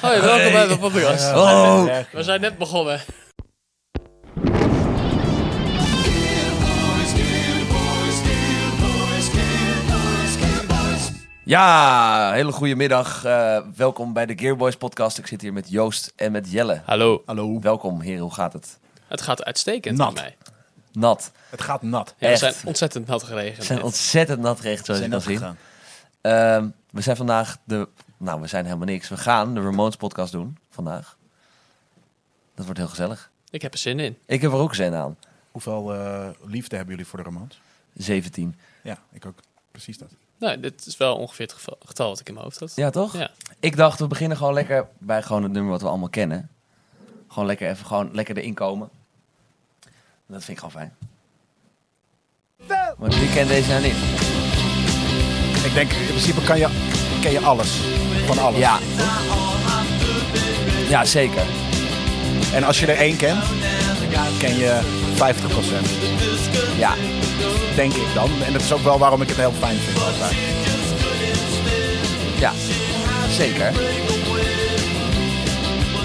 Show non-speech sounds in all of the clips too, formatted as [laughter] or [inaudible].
Hoi, Oh, welkom Hey. bij de podcast. Oh, We zijn net begonnen. ja, hele goede middag. Eh, welkom bij de Gearboys podcast. Ik zit hier met Joost en met Jelle. Hallo. Hallo. Welkom heren, hoe gaat het? Het gaat uitstekend Nat. met mij. Nat. Het gaat nat. Ja, we Echt. zijn ontzettend nat We geregend. zijn ontzettend nat geregend zoals je Zijn kan dat zien. gegaan. Ehm, we zijn vandaag de... Nou, we zijn helemaal niks. We gaan de Ramones podcast doen vandaag. Dat wordt heel gezellig. Ik heb er zin in. Ik heb er ook zin aan. Hoeveel eh, liefde hebben jullie voor de romans? 17. Ja, ik ook. Precies dat. Nou, dit is wel ongeveer het geval- getal wat ik in mijn hoofd had. Ja, toch? Ja. Ik dacht, we beginnen gewoon lekker bij gewoon het nummer wat we allemaal kennen. Gewoon lekker even gewoon lekker erin komen. Dat vind ik gewoon fijn. Maar wie kent deze nou niet? Ik denk, in principe kan je, ken je alles. Van alles. Ja. Ja, zeker. En als je er één kent, ken je 50%. Ja. Denk ik dan. En dat is ook wel waarom ik het heel fijn vind. altijd. Ja. Zeker.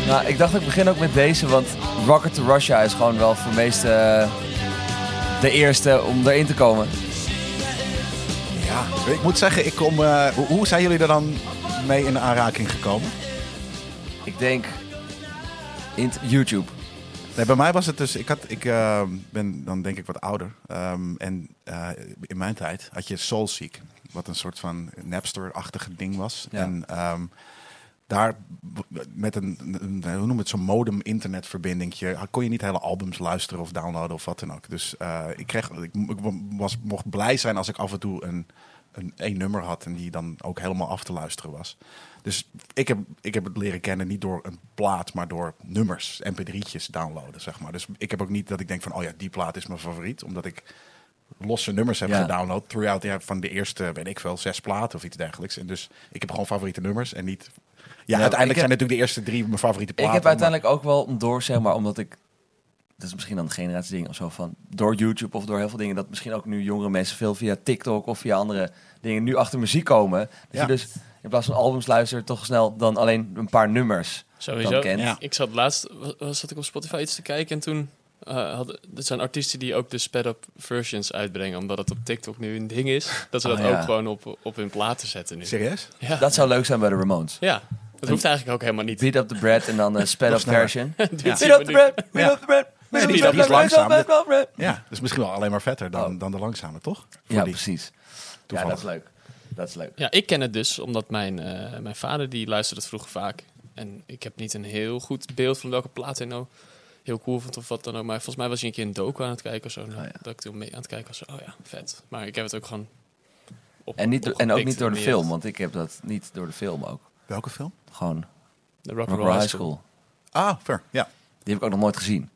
Nou, ik dacht ik begin ook met deze, want Rocket to Russia is gewoon wel voor de meeste eh, de eerste om erin te komen. Ja. Ik moet zeggen, ik kom, eh, hoe, hoe zijn jullie er dan mee in aanraking gekomen? Ik denk in t- YouTube. Nee, bij mij was het dus, ik, had, ik eh, ben dan denk ik wat ouder. Ehm, en eh, in mijn tijd had je Soulseek, wat een soort van Napster-achtige ding was. Ja. En ehm, daar w- met een, een- hoe noem je het, zo'n modem internetverbindingje, ah, kon je niet hele albums luisteren of downloaden of wat dan ook. Dus eh, ik, kreeg, ik, mo- ik was, mocht blij zijn als ik af en toe een, een één nummer had en die dan ook helemaal af te luisteren was. Dus ik heb, ik heb het leren kennen niet door een plaat, maar door nummers, mp3'tjes downloaden, zeg maar. Dus ik heb ook niet dat ik denk van, oh ja, die plaat is mijn favoriet, omdat ik losse nummers heb Ja. gedownload throughout ja, van de eerste, weet ik veel, zes platen of iets dergelijks. En dus ik heb gewoon favoriete nummers en niet... Ja, Ja, uiteindelijk Nou, ik heb- zijn natuurlijk de eerste drie mijn favoriete Ik platen. heb maar- uiteindelijk ook wel een door, zeg maar, omdat ik... Dat is misschien dan een generatieding of zo van... Door YouTube of door heel veel dingen... dat misschien ook nu jongere mensen veel via TikTok of via andere dingen... nu achter muziek komen. Dat Ja. je dus in plaats van albums luistert... toch snel dan alleen een paar nummers dan Sowieso. kent. Ja. Ik zat laatst, wa- wa- zat ik op Spotify iets te kijken en toen... eh hadden, dit zijn artiesten die ook de sped-up versions uitbrengen, omdat het op TikTok nu een ding is. Dat ze dat Ah, ja. ook gewoon op, op hun platen zetten nu. Serieus? Ja. Dat zou leuk zijn bij de Ramones. ja, dat hoeft eigenlijk ook helemaal niet. Beat up the bread en [laughs] dan een sped-up sneller. version. Beat Duurt tien up the minuten. bread, beat Ja. up the bread. beat Nee, up die- the die is bread, beat up langzaam. the bread, beat up the bread. Ja, dat is misschien wel alleen maar vetter dan, Oh. dan de langzame, toch? Voor Ja, die, precies. Ja, toevallig. dat is leuk. Dat is leuk. Ja, ik ken het dus omdat mijn, eh, mijn vader die luisterde het vroeger vaak. En ik heb niet een heel goed beeld van welke plaat hij nou heel cool vond of wat dan ook. Maar volgens mij was hij een keer een docu aan het kijken of zo. Oh, ja. Dat ik toen mee aan het kijken was. Oh ja, vet. Maar ik heb het ook gewoon op En, niet, door- en ook opgepikt niet door de en film, want ik heb dat niet door de film ook. Welke film? Gewoon De Rock, Rock High High School. School. Ah, fair. Ja. Die heb ik ook nog nooit gezien.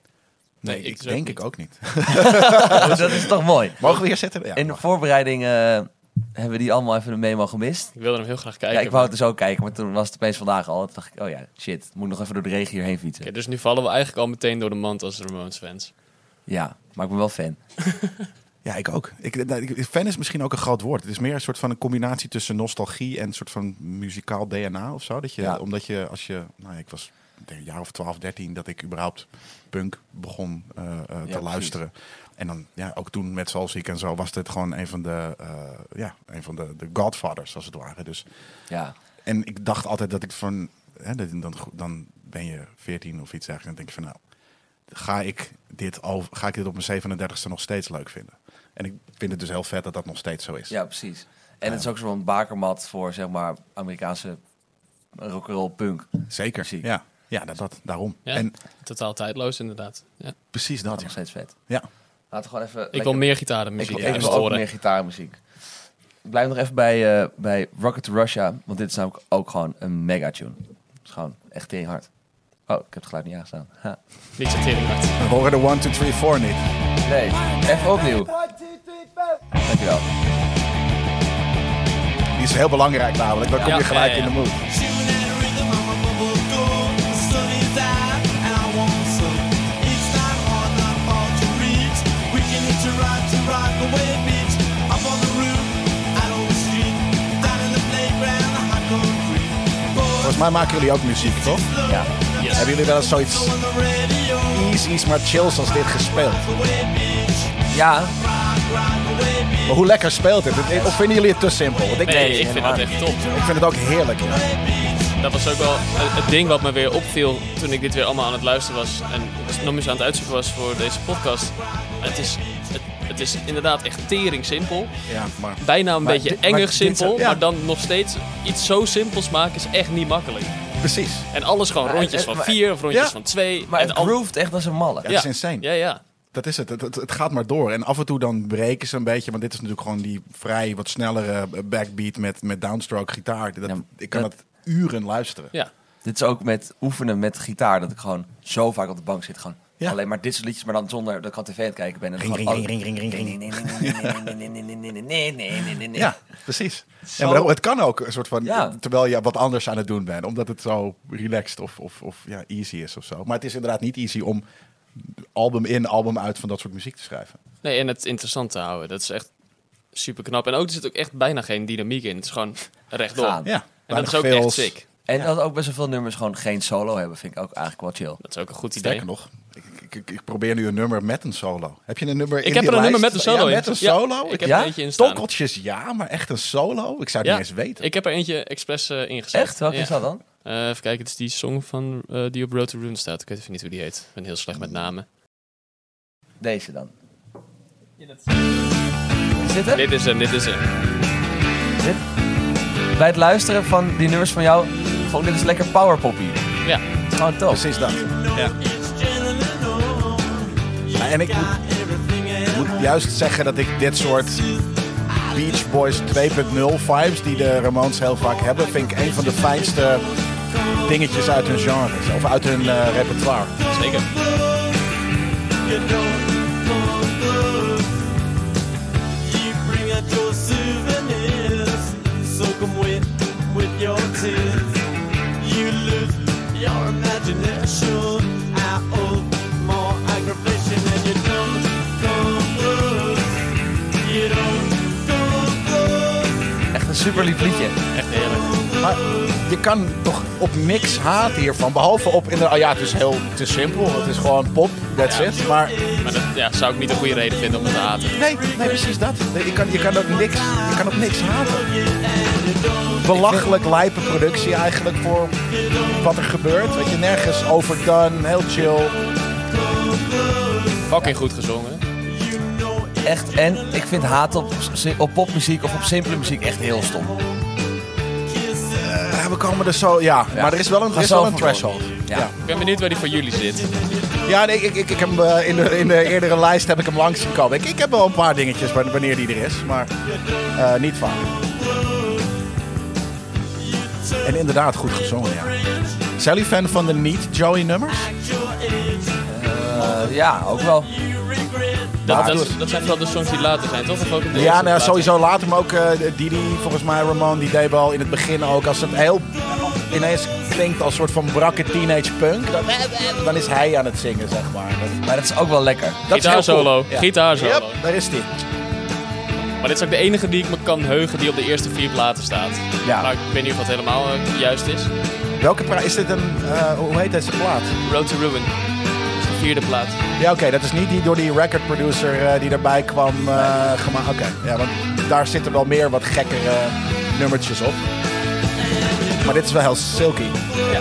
Nee, ik Nee, ik dus ook denk niet. ik ook niet. dat is toch mooi. Mogen we hier zitten? Ja, In de mag. voorbereiding eh, hebben we die allemaal even een memo gemist. Ik wilde hem heel graag kijken. Ja, ik wou het dus ook kijken, maar toen was het opeens vandaag al. Toen dacht ik, oh ja, shit, moet ik nog even door de regen hierheen fietsen. Oké, dus nu vallen we eigenlijk al meteen door de mand als Ramones fans. Ja, maar ik ben wel fan. ja, ik ook. Ik, nou, ik- fan is misschien ook een groot woord. Het is meer een soort van een combinatie tussen nostalgie en een soort van muzikaal DNA of zo. Dat je, Ja. Omdat je als je, nou ja, ik was ik denk een jaar of 12, 13 dat ik überhaupt punk begon eh, eh, te precies. luisteren. En dan, ja, ook toen met Soulseek en zo was dit gewoon een van de, eh, ja, een van de, de godfathers als het ware. Dus Ja, En ik dacht altijd dat ik van... Hè, dat- dan, dan ben je 14 of iets dergelijks. Dan denk je van nou... Ga ik, dit al, ga ik dit op mijn 37ste nog steeds leuk vinden? En ik vind het dus heel vet dat dat nog steeds zo is. ja precies. En het is ook zo'n bakermat voor, zeg maar, Amerikaanse rock'n'roll punk. Zeker. Precies. Ja, ja dat, dat, daarom. Ja, En totaal tijdloos inderdaad. Ja. precies Dat dat. is Ja. nog steeds vet. Ja. Laten we gewoon even... Ik wil meer gitarenmuziek. Ik, Ik, wil- ik wil ook meer gitaarmuziek. Ik blijf nog even bij, eh, bij Rocket to Russia, want dit is namelijk ook gewoon een megatune. Het is gewoon echt tering hard. Oh, ik heb het geluid niet aangestaan. Ha. Niet zo tering hard. We horen de 1, 2, 3, 4 niet. Nee, even opnieuw. Dankjewel. Die is heel belangrijk namelijk. Dan kom Ja, je gelijk ja, ja. in de mood. Volgens Volgens mij maken jullie ook muziek, toch? Ja. Hebben jullie wel eens zoiets easy's maar chills als dit gespeeld? ja, Maar hoe lekker speelt het? Het- Of vinden jullie het te simpel? Want ik, Nee, Nee, ik vind helemaal dat echt top. ik vind het ook heerlijk. ja. Dat was ook wel eh, het ding wat me weer opviel toen ik dit weer allemaal aan het luisteren was. En nog eens aan het uitzoeken was voor deze podcast. Het is, het, het is inderdaad echt tering simpel. Ja, maar Bijna een Maar beetje dit- maar engig dit simpel. zou- ja. Maar dan nog steeds iets zo simpels maken is echt niet makkelijk. precies. En alles gewoon Maar rondjes het- van maar- vier of rondjes Ja. van twee. maar en het al- grooved echt als een malle. Ja. het is insane. Ja, ja. Dat is het. Het, het. het gaat maar door. En af en toe dan breken ze een beetje. Want dit is natuurlijk gewoon die vrij wat snellere backbeat met, met downstroke gitaar. Dat, Ja, ik kan dat, dat- uren luisteren. ja. Dit is ook met oefenen met gitaar, dat ik gewoon zo vaak op de bank zit. Gewoon Ja. alleen maar dit soort liedjes, maar dan zonder dat ik aan tv aan het kijken ben. En Ring, gewoon ring, ring, ring, ring, ring. Ja, precies. Zo- Ja, maar dat- het kan ook een soort van, Ja. terwijl je wat anders aan het doen bent. Omdat het zo relaxed of, of, of ja, easy is of zo. Maar het is inderdaad niet easy om album in, album uit van dat soort muziek te schrijven. Nee, en het interessant te houden. Dat is echt super knap. En ook, er zit ook echt bijna geen dynamiek in. Het is gewoon rechtdoor. Gaan. Ja, En dat weinig is ook echt fills. sick. En dat ook best wel veel nummers gewoon geen solo hebben, vind ik ook eigenlijk wel chill. Dat is ook een goed idee. Sterker nog, ik, ik, ik- ik probeer nu een nummer met een solo. Heb je een nummer in Ik heb die er een lijst? nummer met een solo Ja, in. met een Ja, solo? ik heb Ja? er eentje in staan. Tokkeltjes ja, maar echt een solo? Ik zou het Ja, niet eens weten. ik heb er eentje expres eh, ingezet. Echt? Welke Ja. is dat dan? Eh, even kijken, het is die song van, eh, die op Road to Ruin staat. Ik weet even niet hoe die heet. Ik ben heel slecht met namen. Deze dan. Is dit hem? Dit is hem, dit is hem. Dit? Bij het luisteren van die nummers van jou, gewoon dit is lekker powerpoppy. Ja, Het is Gewoon top. Precies dat. Ja. En ik moet, moet juist zeggen dat ik dit soort Beach Boys 2.0 vibes die de Ramones heel vaak hebben, vind ik een van de fijnste dingetjes uit hun genre of uit hun eh, repertoire. zeker. You bring out your souvenirs, soak 'em wet with your tears. You lose your imagination. I owe more aggravation, and you don't come close. You don't come close. Echt een super lief liedje. Echt heerlijk. Maar je kan toch op niks haat hiervan, behalve op inderdaad, oh ja, het is heel te simpel, het is gewoon pop, that's it. Maar Maar dat ja, zou ik niet een goede reden vinden om het te haten. nee, nee precies dat. Nee, je, kan, je kan ook niks, je kan op niks haten. belachelijk lijpe productie eigenlijk voor wat er gebeurt. Weet je, nergens overdone, heel chill. Fucking goed gezongen. Echt. En ik vind haat op, op popmuziek of op simpele muziek echt heel stom. Eh, we komen er zo, ja. Maar er is wel een, er Ga is zo wel een vandoor. threshold. Ja. Ja, Ik ben benieuwd waar die voor jullie zit. ja nee, ik, ik, ik heb hem eh, in de, in de eerdere lijst heb ik hem langs zien komen. Ik, ik heb wel een paar dingetjes wa- wanneer die er is, maar eh, niet vaak. En inderdaad goed gezongen, ja. Zijn jullie fan van de niet-Joey-nummers? Eh, ja, ook wel. Dat, Maar- dat, dat zijn vooral de songs die later zijn, toch? Of ook op de Nou, Ja, eerste nou, plaats? sowieso later, maar ook eh, Didi, volgens mij Ramon, die deed wel in het begin ook. Als het heel ineens klinkt als soort van brakke teenage punk, dan, dan is hij aan het zingen, zeg maar. Dat, Maar dat is ook wel lekker. dat is heel cool. Gitaarsolo, gitaarsolo. Yep, daar is die. Maar dit is ook de enige die ik me kan heugen die op de eerste vier platen staat. Ja. Maar ik weet niet of dat helemaal eh, juist is. Welke plaat? Is dit een, eh, hoe heet deze plaat? Road to Ruin. Dat is de vierde plaat. Ja, oké, dat is niet die door die record producer eh, die erbij kwam eh gemaakt. Oké, ja, want daar zitten wel meer wat gekkere nummertjes op. Maar dit is wel heel silky. Ja. Ja.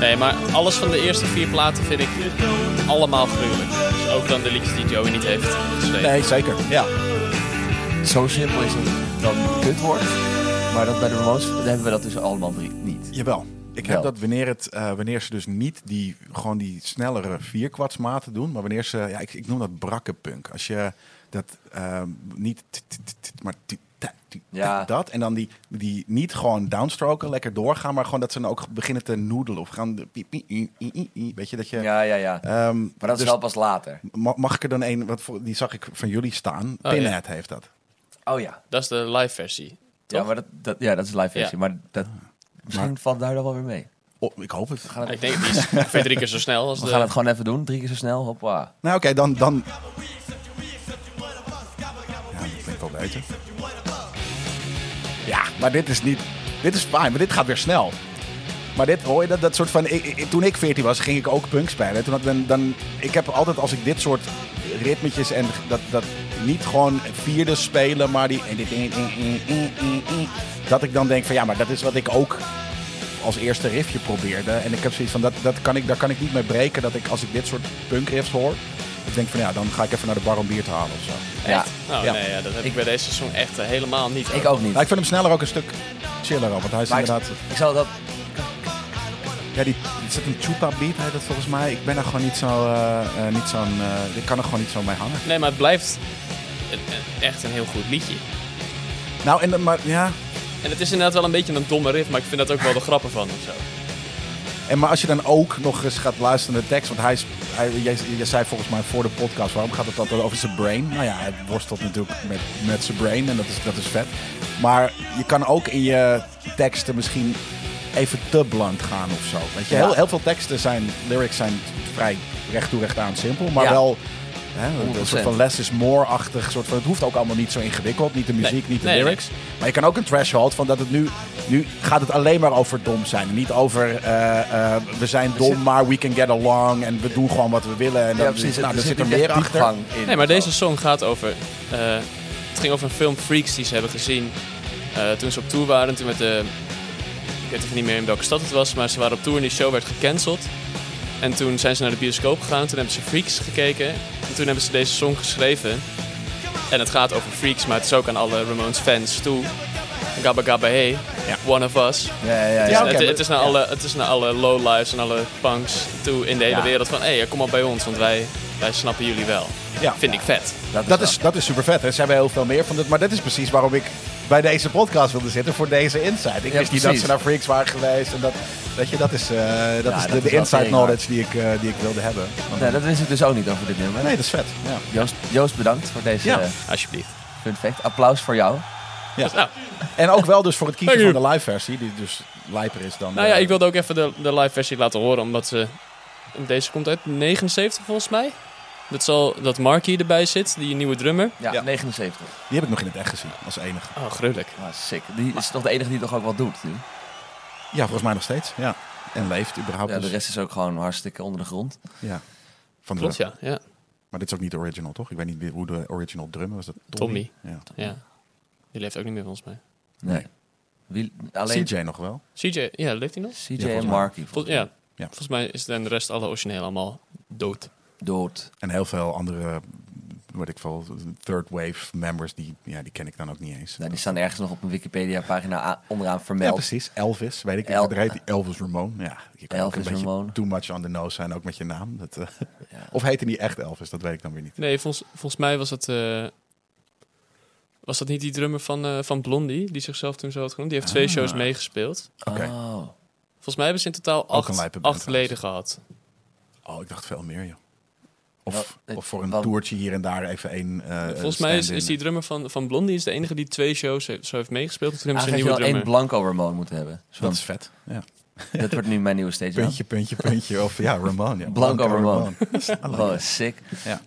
Nee, maar alles van de eerste vier platen vind ik allemaal gruwelijk. Dus ook dan de liedjes die Joey niet heeft geschreven. Nee, zeker. Ja. Zo simpel is het dat het kut wordt. Maar dat bij de Ramones hebben we dat dus allemaal drie niet. Jawel. Ik Wel. heb dat wanneer, het, eh, wanneer ze dus niet die, gewoon die snellere vierkwartsmaten doen, maar wanneer ze, ja, ik, ik noem dat brakke punk. Als je dat ehm, niet, t- t- t- t- maar t- t- t- Ja. dat en dan die, die niet gewoon downstroken, lekker doorgaan, maar gewoon dat ze dan ook beginnen te noedelen of gaan, de piep, piep, i- i- i- i. weet je dat je. Ja, ja, ja. ehm, Maar dat is dus wel pas later. ma- Mag ik er dan een, wat voor, die zag ik van jullie staan. ja. Pinhead heeft dat. Oh ja. Dat is de live versie. Ja, maar dat, dat, ja, dat is live Ja. versie. Maar dat, misschien valt daar dan wel weer mee. Oh, ik hoop het. Ik denk die [laughs] is ongeveer drie keer zo snel als We de... gaan het gewoon even doen. Drie keer zo snel. Hoppa. Nou oké, dan, dan... Ja, dat klinkt wel beter. Ja, maar dit is niet. Dit is fijn, maar dit gaat weer snel. Maar dit hoor je dat, dat soort van. Ik, ik- toen ik 14 was, ging ik ook punk spelen. Toen had ik, dan, ik heb altijd als ik dit soort ritmetjes en dat, dat niet gewoon vierde spelen, maar die. en dit- en- en- en- en- en- en- Dat ik dan denk van ja, maar dat is wat ik ook als eerste riffje probeerde. En ik heb zoiets van dat, dat kan ik, daar kan ik niet mee breken dat ik als ik dit soort punk riffs hoor. Ik denk van ja, dan ga ik even naar de bar om bier te halen of zo. Ja, Nou, Ja. nee, ja, dat heb ik, Ik- bij deze song echt eh, helemaal niet. ik ook niet. Maar ik vind hem sneller ook een stuk chiller op, want hij is Maar inderdaad. ik, ik zal dat... Ja, die, er zit een chupa beat, heet dat volgens mij. Ik ben er gewoon niet zo, eh, eh, niet zo'n, eh, ik kan er gewoon niet zo mee hangen. Nee, maar het blijft een- een- echt een heel goed liedje. Nou, en, de- maar, ja. En het is inderdaad wel een beetje een domme riff, maar ik vind dat ook wel de grappen van of zo. en maar als je dan ook nog eens gaat luisteren naar de tekst, want hij is, hij, jij, jij zei volgens mij voor de podcast, waarom gaat het altijd over zijn brain? Nou ja, hij worstelt natuurlijk met, met zijn brain en dat is, dat is vet. Maar je kan ook in je teksten misschien even te bland gaan of zo. Weet je, Ja. heel, heel veel teksten zijn, lyrics zijn vrij recht toe recht aan simpel, maar Ja. wel... Hè, een 100%. soort van less is more-achtig. soort van- Het hoeft ook allemaal niet zo ingewikkeld. Niet de muziek, Nee, niet de nee, nee. lyrics. Maar je kan ook een threshold van dat het nu... Nu gaat het alleen maar over dom zijn. En Niet over eh, eh, we zijn dom, maar we can get along. En we doen gewoon wat we willen. En Ja, dan, precies. nou, er er zit er niet meer echt achter. diepgang in. Nee, maar Zo. deze song gaat over. eh, het ging over een film Freaks die ze hebben gezien. eh, toen ze op tour waren, toen met de. Ik weet even niet meer in welke stad het was, maar ze waren op tour en die show werd gecanceld. En toen zijn ze naar de bioscoop gegaan, toen hebben ze Freaks gekeken. En toen hebben ze deze song geschreven. En het gaat over Freaks, maar het is ook aan alle Ramones fans toe. Gabba Gabba Hey, Ja. One of Us. Ja, ja, ja. Ja, Het- oké, het, maar- het is naar ja. alle, het is naar alle lowlifes en alle punks toe in de hele Ja. wereld van... hé, hey, kom maar bij ons, want wij, wij snappen jullie wel. Ja. Vind ik vet. Dat is, dat is super vet. Hè. Ze hebben heel veel meer van dit. Maar dat is precies waarom ik bij deze podcast wilde zitten. Voor deze insight. Ik Ja, wist niet dat precies. ze naar Freaks waren geweest. En dat, weet je, dat is, eh, dat Ja, is de, dat de is wel inside prima. knowledge die ik, eh, die ik wilde hebben. Nee, dat wist ik dus ook niet over dit nummer. Nee, dat is vet. Ja. Joost, Joost, bedankt voor deze Ja. eh, Alsjeblieft. fun fact. Applaus voor jou. Ja. Nou, En ook wel dus voor het kiezen Thank van you. de live versie, die dus lijper is dan. nou ja, de- ik wilde ook even de, de live versie laten horen, omdat ze... Deze komt uit 79 volgens mij. Dat zal dat Marky erbij zit, die nieuwe drummer. Ja, Ja. 79. Die heb ik nog in het echt gezien, als enige. Oh, gruwelijk. Ah, sick. Die is toch de enige die toch ook wat doet nu? Ja, volgens mij nog steeds. Ja. En leeft überhaupt. Ja, de dus. rest is ook gewoon hartstikke onder de grond. Ja. Van de- Klopt, ja. ja. Maar dit is ook niet de original, toch? Ik weet niet wie- hoe de original drummer was. Dat Tommy. Tommy. Ja. ja. Die leeft ook niet meer volgens mij. Nee. Wie, alleen CJ nog wel. CJ, ja, leeft hij nog? CJ volgens en mij. Marky. Vol- ja. Ja. Volgens mij is dan de rest alle origineel allemaal dood. Dood. En heel veel andere, wat ik veel, third wave members, die, ja, die ken ik dan ook niet eens. Nou, die staan ergens nog op een Wikipedia-pagina a- onderaan ja, vermeld. precies. Elvis, weet ik. El- Er heet die Elvis Ramone. Ja, je kan ook Elvis een beetje Ramone. too much on the nose zijn, ook met je naam. Dat, eh, [laughs] Ja. Of heette die echt Elvis? Dat weet ik dan weer niet. Nee, volgens, volgens mij was dat. eh, was dat niet die drummer van, eh, van Blondie, die zichzelf toen zo had genoemd? Die heeft twee Ah. shows meegespeeld. Oké. Oh. Volgens mij hebben ze in totaal een acht, lijpe band acht leden gehad. Oh, ik dacht veel meer, joh. Wel, Of, het- of voor een want- toertje hier en daar even één. eh, Volgens mij is, stand-in. is die drummer van, van Blondie is de enige die twee shows he- zo heeft meegespeeld. En Toen hebben ze een Eigenlijk nieuwe je Ah, wel drummer. één blanco Ramon moeten hebben. Zo'n- Dat is vet. Ja. dat wordt nu mijn nieuwe stage. naam. Puntje, puntje, puntje. Of ja, Ramon. Ja. Blanco [laughs] Ramon. I like Oh, it. sick. Ja.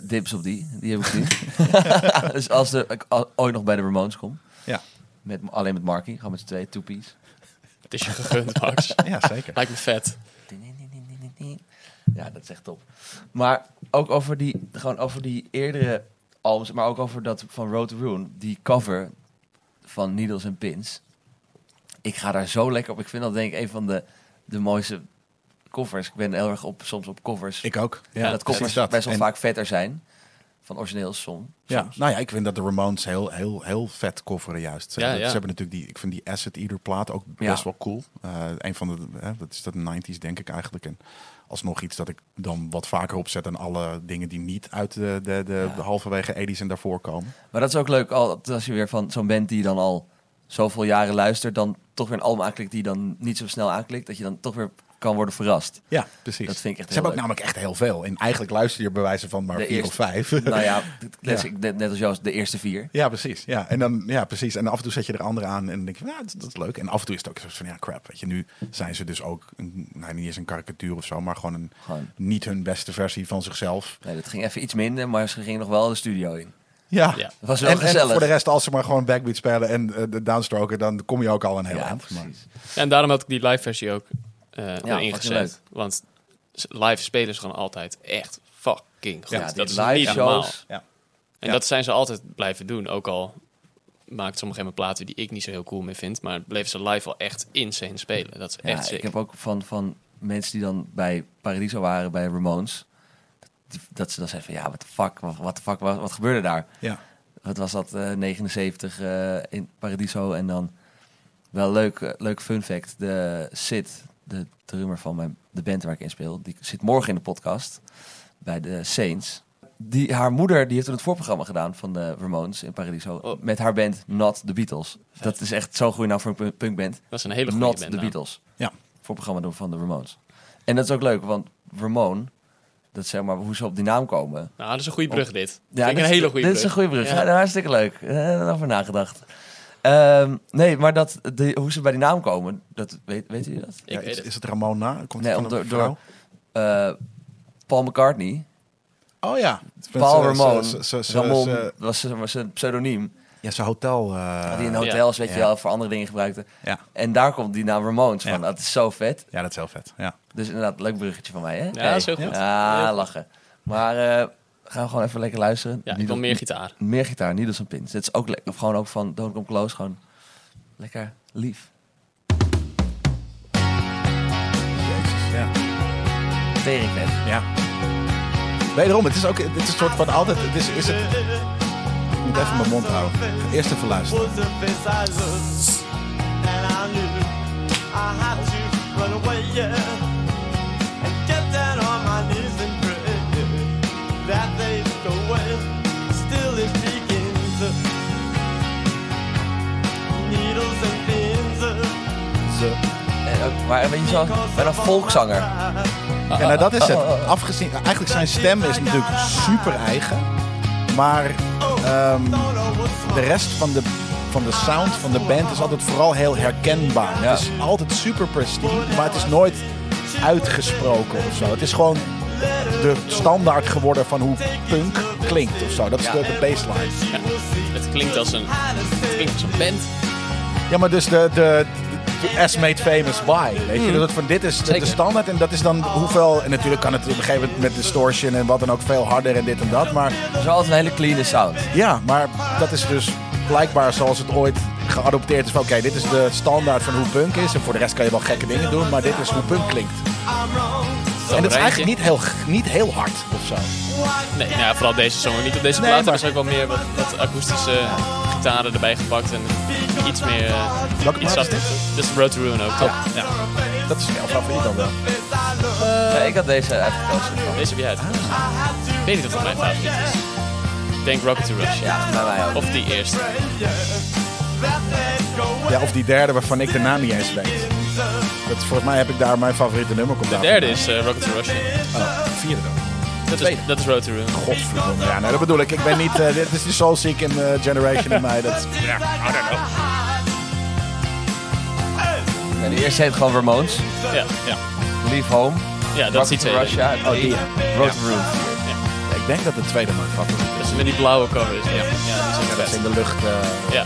Dips op die, die heb ik niet. [laughs] dus als er, ik al- ooit nog bij de Ramones kom, Ja. met, alleen met Marky, gewoon met z'n tweeën, two-piece. Het is je gegund, Max. [laughs] ja, zeker. Lijkt me vet. Ja, dat is echt top. Maar ook over die, gewoon over die eerdere albums, maar ook over dat van Road to Ruin, die cover van Needles and Pins. Ik ga daar zo lekker op. Ik vind dat denk ik een van de, de mooiste covers. Ik ben heel erg op, soms op covers. Ik ook. Ja, dat precies covers dat. best wel En- vaak vetter zijn. Van origineels som. Ja, nou ja, ik vind dat de Ramones heel, heel, heel vet coveren juist. Ja, Eh, dat- ja. Ze hebben natuurlijk die, ik vind die Acid Eater plaat ook Ja. best wel cool. Eh, een van de, eh, dat is dat 90s denk ik eigenlijk. En alsnog iets dat ik dan wat vaker opzet dan alle dingen die niet uit de, de, de, de halverwege 80s en daarvoor komen. Maar dat is ook leuk al, als je weer van zo'n band die dan al zoveel jaren luistert, dan toch weer een album aanklikt die je dan niet zo snel aanklikt, dat je dan toch weer kan worden verrast. Ja, precies. Dat vind ik echt Ze heel hebben ook leuk. namelijk echt heel veel. En eigenlijk luister je bij wijze van maar De vier of eerste- [laughs] vijf. nou ja, dit- net, net- net als Joost, de eerste vier. Ja, precies. Ja, en dan, ja, precies. En af en toe zet je er andere aan en dan denk je, ja, dat, dat is leuk. En af en toe is het ook soort van, ja, crap. Weet je, nu zijn ze dus ook, een, nou, niet eens een karikatuur of zo, maar gewoon een Gewoon. niet hun beste versie van zichzelf. Nee, dat ging even iets minder, maar ze gingen nog wel de studio in. Ja. Ja. Dat was wel En, en gezellig. voor de rest, als ze maar gewoon backbeat spelen en eh, de downstroker, dan kom je ook al een heel ja, eind. Maar- precies. Ja, en daarom had ik die live versie ook eh, erin fucking ingezet. Want s- live spelen ze gewoon altijd echt fucking goed. Ja, die dat is live niet normaal. shows. Ja. En Ja. dat zijn ze altijd blijven doen. Ook al maakt sommige gegeven platen die ik niet zo heel cool meer vind. Maar bleven ze live wel echt insane spelen. Dat is Ja, echt sick. ik heb ook van, van mensen die dan bij Paradiso waren, bij Ramones, dat, dat ze dan zeiden van ja, wat de fuck, wat de fuck, wat, wat gebeurde daar? Ja. Wat was dat, eh, 79 eh, in Paradiso en dan wel leuk, eh, leuk fun fact, de Sid, de drummer van mijn, de band waar ik in speel, die zit morgen in de podcast bij de Saints. Die, haar moeder die heeft toen het voorprogramma gedaan van de Ramones in Paradiso Oh. met haar band Not The Beatles. Dat is echt zo'n goede naam voor een punk- punkband. Dat is een hele goede Not band. The nou. Beatles Ja. voor programma doen van de Ramones. En dat is ook leuk, want Ramone, dat zeg maar hoe ze op die naam komen. Nou, dat is een goede brug dit. Ja, Ja, Vind ik dit een is- hele goede brug. Dit is een goede brug. Ja. Ja. hartstikke leuk. Eh, over nagedacht. Ehm, nee, maar dat, de, hoe ze bij die naam komen, dat, weet, weet jullie dat? Ik Ja, weet is, het. is het Ramona? Komt Nee, het van om een door- vrouw? Eh, Paul McCartney, Oh ja. Paul Met z'n- Ramon, z'n- z'n- z'n- Ramon z'n- was z- was zijn pseudoniem. Ja, zijn hotel. eh, die Ah, in hotels, weet je Ja. wel, voor andere dingen gebruikte. ja. En daar komt die naam Ramones van. Ja. Dat is zo vet. ja, dat is heel vet. Ja. Dus inderdaad, leuk bruggetje van mij, hè? Ja, dat is heel goed. Heel Ja, goed. lachen. Maar eh, gaan we gewoon even lekker luisteren. Ja, ik Needle- wil meer gitaar. meer gitaar, niet als een pins. Dit is ook lekker. Of gewoon ook van Don't Come Close. Gewoon lekker lief. Jezus, ja. Tering net. Ja. Wederom, het is ook het is een soort van altijd. Het is, is het, ik moet even mijn mond houden. Eerst even luisteren. was the face I looked, and I knew I had to run away, yeah, and get down on my knees and pray that they go away. Still it begins, needles and pins. En ook, maar een beetje zo, bijna volkszanger. Ja, nou, dat is het. Afgezien, eigenlijk zijn stem is natuurlijk super eigen. Maar Mm. ehm, de rest van de, van de sound van de band is altijd vooral heel herkenbaar. Ja. Het is altijd super prestige, maar het is nooit uitgesproken of zo. Het is gewoon de standaard geworden van hoe punk klinkt of zo. Dat is de, de baseline. Het klinkt als een, het klinkt als een band. Ja, maar dus de, de, de, de as made famous by, weet je? Dus dat van dit is de, de Hmm. Zeker. standaard en dat is dan hoeveel... En natuurlijk kan het op een gegeven moment met distortion en wat dan ook veel harder en dit en dat. Maar Het is altijd een hele clean sound. ja, maar dat is dus blijkbaar zoals het ooit geadopteerd is. van, Oké, dit is de standaard van hoe punk is. En voor de rest kan je wel gekke dingen doen, maar dit is hoe punk klinkt. En dat is eigenlijk niet heel, niet heel hard of zo. Nee, nou ja, vooral deze song. Niet op deze Nee, plaat. maar- Er is ook wel meer wat, wat akoestische gitaren erbij gepakt. En iets meer... eh, Welke iets plaat is zachter. dit? Dus Road to Ruin ook, toch? Oh, Ja. Dat is jouw favoriet dan wel. Nee, ik had deze uitgekozen. Deze heb jij uit. Ah. Ik weet niet of het mijn favoriet is. Ik denk Rocket to Russia. Ja, bij mij ook. Of die eerste. Ja, of die derde waarvan ik de naam niet eens weet. Dat is, volgens mij heb ik daar mijn favoriete nummer op. De derde is eh, Rocket to Russia. vierde dan. Dat is, dat is Road to Ruin. Godverdomme. Ja, nee, dat bedoel ik. Ik ben niet... eh, dit is die Soul Seeking eh, Generation in mij. Dat, ja, I don't know. En de eerste heet gewoon Ramones. Ja, ja. Leave Home. ja dat is Rocket iets to heel Russia. en Oh, drie, die. Road to Ruin. Ik denk dat de tweede mijn favoriet Dat is met die blauwe cover. is. Ja, ja die is ook is. Dat is vet. in de lucht... eh, Ja.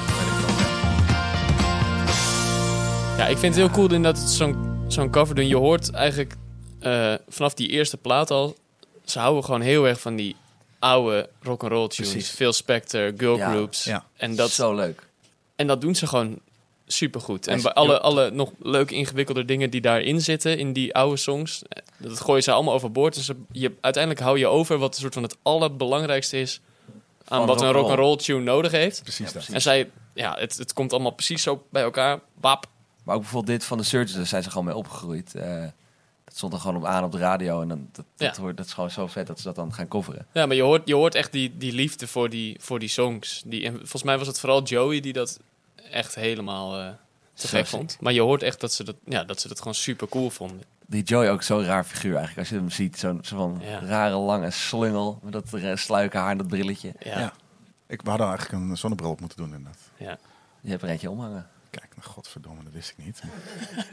Ja, ik vind het heel cool in dat het zo'n zo'n cover doen. Je hoort eigenlijk eh, vanaf die eerste plaat al... Ze houden gewoon heel erg van die oude rock'n'roll tunes. Precies. Veel Spectre, girl Ja. groups. Ja. En Dat dat is zo leuk. En dat doen ze gewoon supergoed. En Ja, bij ze- ja. alle, alle nog leuke, ingewikkelde dingen die daarin zitten, in die oude songs, eh, dat gooien ze allemaal overboord. Dus ze- je, uiteindelijk hou je over wat een soort van het allerbelangrijkste is aan Van wat een rock'n'roll. rock'n'roll tune nodig heeft. Precies dat. En zij, ja, het, het komt allemaal precies zo bij elkaar. Wap. Maar ook bijvoorbeeld dit van de Surgeons, daar zijn ze gewoon mee opgegroeid. Eh, dat stond er gewoon op aan op de radio. En dan, dat, dat, Ja. hoort, dat is gewoon zo vet dat ze dat dan gaan coveren. Ja, maar je hoort, je hoort echt die, die liefde voor die, voor die songs. Die, en volgens mij was het vooral Joey die dat echt helemaal eh, te Zo gek sick. vond. Maar je hoort echt dat ze dat, ja, dat, ze dat gewoon super cool vonden. Die Joey ook zo'n raar figuur eigenlijk. Als je hem ziet, zo'n zo van Ja. rare lange slungel. Met dat eh, sluike haar en dat brilletje. Ja, Ja. ja. Ik, we hadden eigenlijk een zonnebril op moeten doen inderdaad. [laughs] Je hebt er eentje omhangen. Kijk, nou, Godverdomme, dat wist ik niet.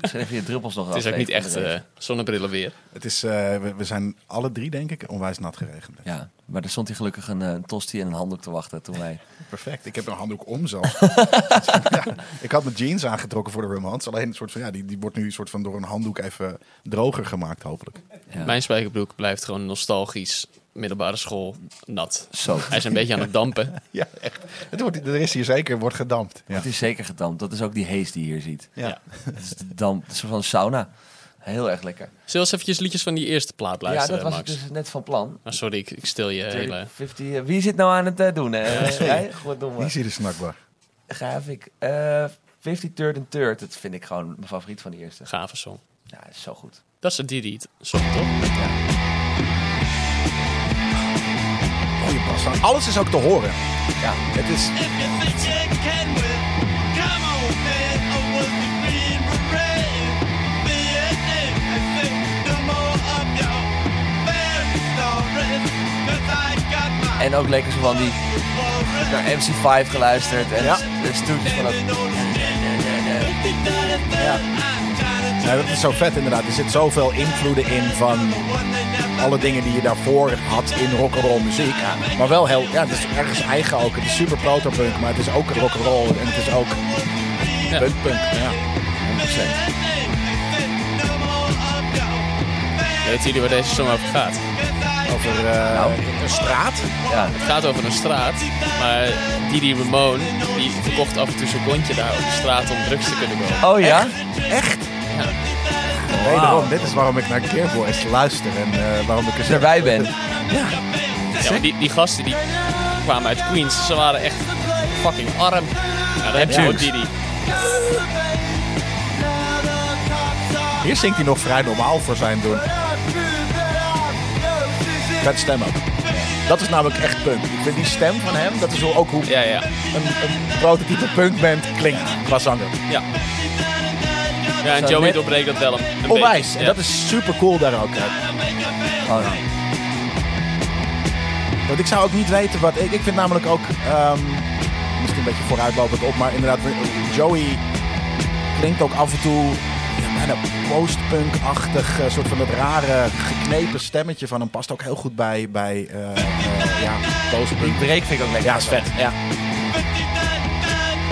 Ik zet even je druppels nog Het is ook niet afgeven van echt de regen. eh zonnebrillen weer. Het is, eh, we, we zijn alle drie, denk ik, onwijs nat geregend. Ja, maar er stond hier gelukkig een, eh, een tosti en een handdoek te wachten toen [laughs] wij... Perfect. Ik heb een handdoek om zelf. [laughs] ja, ik had mijn jeans aangetrokken voor de Rumhans. Alleen een soort van, ja, die, die wordt nu een soort van door een handdoek even droger gemaakt, hopelijk. Ja. Mijn spijkerbroek blijft gewoon nostalgisch middelbare school nat. Zo. Hij is een beetje aan het [laughs] dampen. Ja, echt. Het wordt, er is hier zeker, wordt gedampt. Ja. Het is zeker gedampt. Dat is ook die haze die je hier [laughs] ziet. Ja. Ja. Het is de damp, het is een soort van sauna. Heel erg lekker. Zullen we eens eventjes liedjes van die eerste plaat luisteren, ja, dat was ik Max? dus net van plan. Ah, sorry, ik, ik stil je hele... 50, eh, wie zit nou aan het eh, doen? eh jij? Hier Goddomme. zie je de snackbar. Gaaf ik. eh 50 Third and Third. Dat vind ik gewoon mijn favoriet van de eerste. gave song. Ja, dat is zo goed. Dat is een Didi song, toch? Oh, je past aan. Alles is ook te horen. Ja. Het is, If you think you can win, come on, man. I was being brave. Be an ape and think no more of your fairy stories. 'Cause I got my En ook lekker zo van die forest. naar MC5 geluisterd. En Ja. de stoetjes van dat... Ja. nou, dat is zo vet inderdaad. Er zit zoveel invloeden in van alle dingen die je daarvoor had in rock'n'roll muziek. Maar wel heel, ja, het is ergens eigen ook. Het is super protopunk, maar het is ook rock'n'roll en het is ook Ja. punkpunk. Ja. 100%. Weten jullie waar deze song over gaat? Over eh, Nou. een straat. Ja. Het gaat over een straat, maar Didi Ramone die verkocht af en toe zijn kontje daar op de straat om drugs te kunnen kopen. Oh ja? Echt? Wederom, dit is waarom ik naar Gearboys luister en eh, waarom ik er Dus zelf- erbij ben. Oh, Ja, maar die, die gasten die kwamen uit Queens, ze waren echt fucking arm. Nou, daar heb je ook drugs. Didi. Hier zingt hij nog vrij normaal voor zijn doen. Vet stem ook. Dat is namelijk echt punk. Ik vind die stem van hem, dat is wel ook hoe Ja, ja. een, een prototype punkband klinkt qua zanger. Ja, ja en Zo Joey net- doorbreekt dat wel een, een Onwijs. beetje. En Ja. dat is super cool daar ook. uit. Oh, ja. Want ik zou ook niet weten wat. Ik, ik vind namelijk ook. ehm, misschien een beetje vooruitlopend op, maar inderdaad. Joey klinkt ook af en toe. ja, Bijna post-punk-achtig, eh, soort van dat rare geknepen stemmetje van hem past ook heel goed bij, bij eh, eh, ja, Die post-punk. break vind ik ook lekker. Ja, is vet. Ja.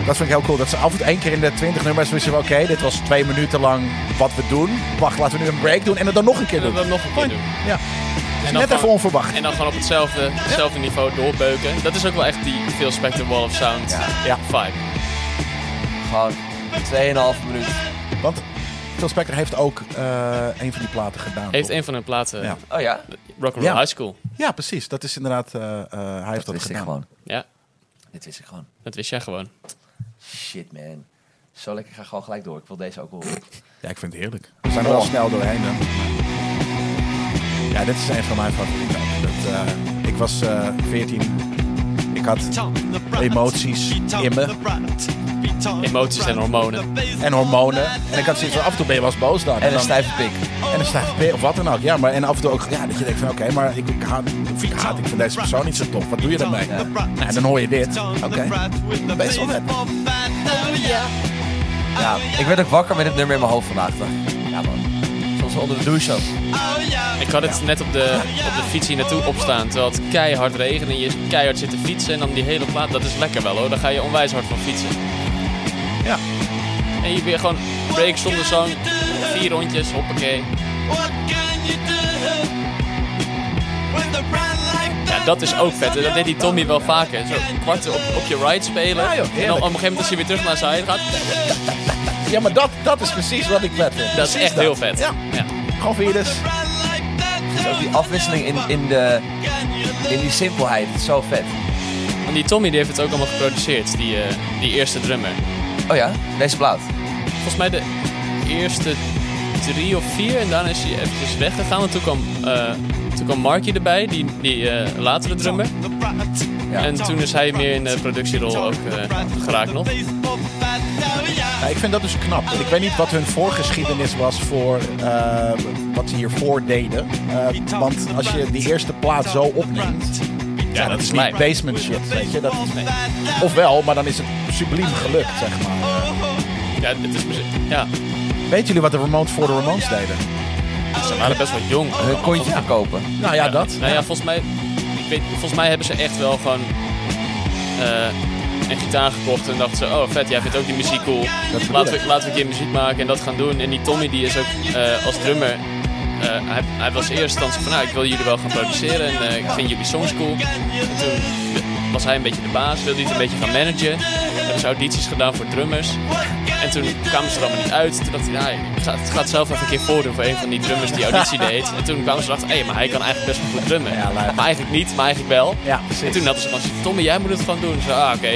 Dat vind ik heel cool. Dat ze af en toe één keer in de 20 nummers wisten we, oké, dit was twee minuten lang wat we doen. Wacht, laten we nu een break doen en het dan nog een keer En doen. dat nog een keer doen. Ja. En dan Net even gewoon- onverwacht. En dan gewoon op hetzelfde, hetzelfde niveau doorbeuken. Dat is ook wel echt die veel Spectre Wall of Sound Ja. vibe. Gewoon 2,5 minuut. Want Phil Spector heeft ook eh, een van die platen gedaan. Heeft toch? een van hun platen Ja. Oh ja? Rock and Ja. Roll High School. Ja, precies. Dat is inderdaad. eh, eh, hij heeft Dat dat wist ik gedaan. gewoon. Ja, Dit wist ik gewoon. dat wist jij gewoon. Shit, man. Zo lekker. Ik ga gewoon gelijk door. Ik wil deze ook horen. Ja, ik vind het heerlijk. We zijn er wel Oh. snel doorheen. Hè? Ja, dit is een van mijn favorieten. ook. Dat, eh, ik was eh 14. Ik had emoties in me. Emoties en hormonen. en hormonen. En ik had zoiets van af en toe ben je wel eens boos dan. En een dan- stijve pik. En een stijve pik of wat dan ook. Ja, maar en af en toe ook ja, dat je denkt van oké, maar ik, ik haat, of ik haat, ik vind deze persoon niet zo tof. Wat doe je ermee? Ja. Nou, En dan hoor je dit. Oké, best wel vet. Ja, ik werd ook wakker met het nummer in mijn hoofd vandaag. dacht ik. Ja, man. Soms onder de douche ook. Ik had het net op de, op de fiets hier naartoe opstaan. Terwijl het keihard regent en je keihard zit te fietsen. En dan die hele plaat, dat is lekker wel hoor. Daar ga je onwijs hard van fietsen. Ja. En je weer gewoon break zonder zang. Vier rondjes, hoppakee. Ja, dat is ook vet. En Dat deed die Tommy wel vaker. Zo kwarten op, op je ride spelen. Ja, en joh, dan heerlijk. op een gegeven moment als je weer terug naar zijn heen gaat. Ja, maar dat, dat is precies wat ik vet vind. Dat is Precies echt heel vet. Ja, Ja. gewoon virus. Ook die afwisseling in, in, de, in die simpelheid. Het is zo vet. En die Tommy die heeft het ook allemaal geproduceerd. Die, eh, die eerste drummer. Oh ja, deze plaat. Volgens mij de eerste drie of vier. En daarna is hij eventjes weggegaan. Want toen kwam, eh, toen kwam Marky erbij. Die, die eh, latere drummer. Ja. En toen is hij meer in de productierol ook eh, geraakt nog. Ja, ik vind dat dus knap. Ik weet niet wat hun voorgeschiedenis was voor eh, wat ze hiervoor deden. Eh, want als je die eerste plaat zo opneemt, ja, dat is niet lijp. basement shit, weet je. Dat, Ofwel, maar dan is het subliem gelukt, zeg maar. Ja, het is muziek. Ja, Weet jullie wat de Ramones voor de Ramones deden? ze waren best wel jong. Hun kontje Ja. verkopen. Nou ja, dat. Nou ja, volgens mij, ik weet, volgens mij hebben ze echt wel gewoon eh, een gitaar gekocht en dachten ze, oh vet, jij vindt ook die muziek cool. bedoel Laten we, laten we een keer muziek maken en dat gaan doen. En die Tommy die is ook eh, als drummer, eh, hij, hij was eerst instantie van, nou ik wil jullie wel gaan produceren en eh, ik vind jullie songs cool. En toen was hij een beetje de baas, wilde hij het een beetje gaan managen. Hebben ze audities gedaan voor drummers. En toen kwamen ze er allemaal niet uit. Toen dacht hij, nou, ik ga, ik ga het zelf even een keer voordoen voor een van die drummers die [laughs] auditie deed. En toen kwamen ze erachter, hé, maar hij kan eigenlijk best wel goed drummen. Ja, leuk. maar eigenlijk niet, maar eigenlijk wel. Ja, en toen hadden ze van, Tommy, jij moet het gewoon doen. Zo, ah, oké.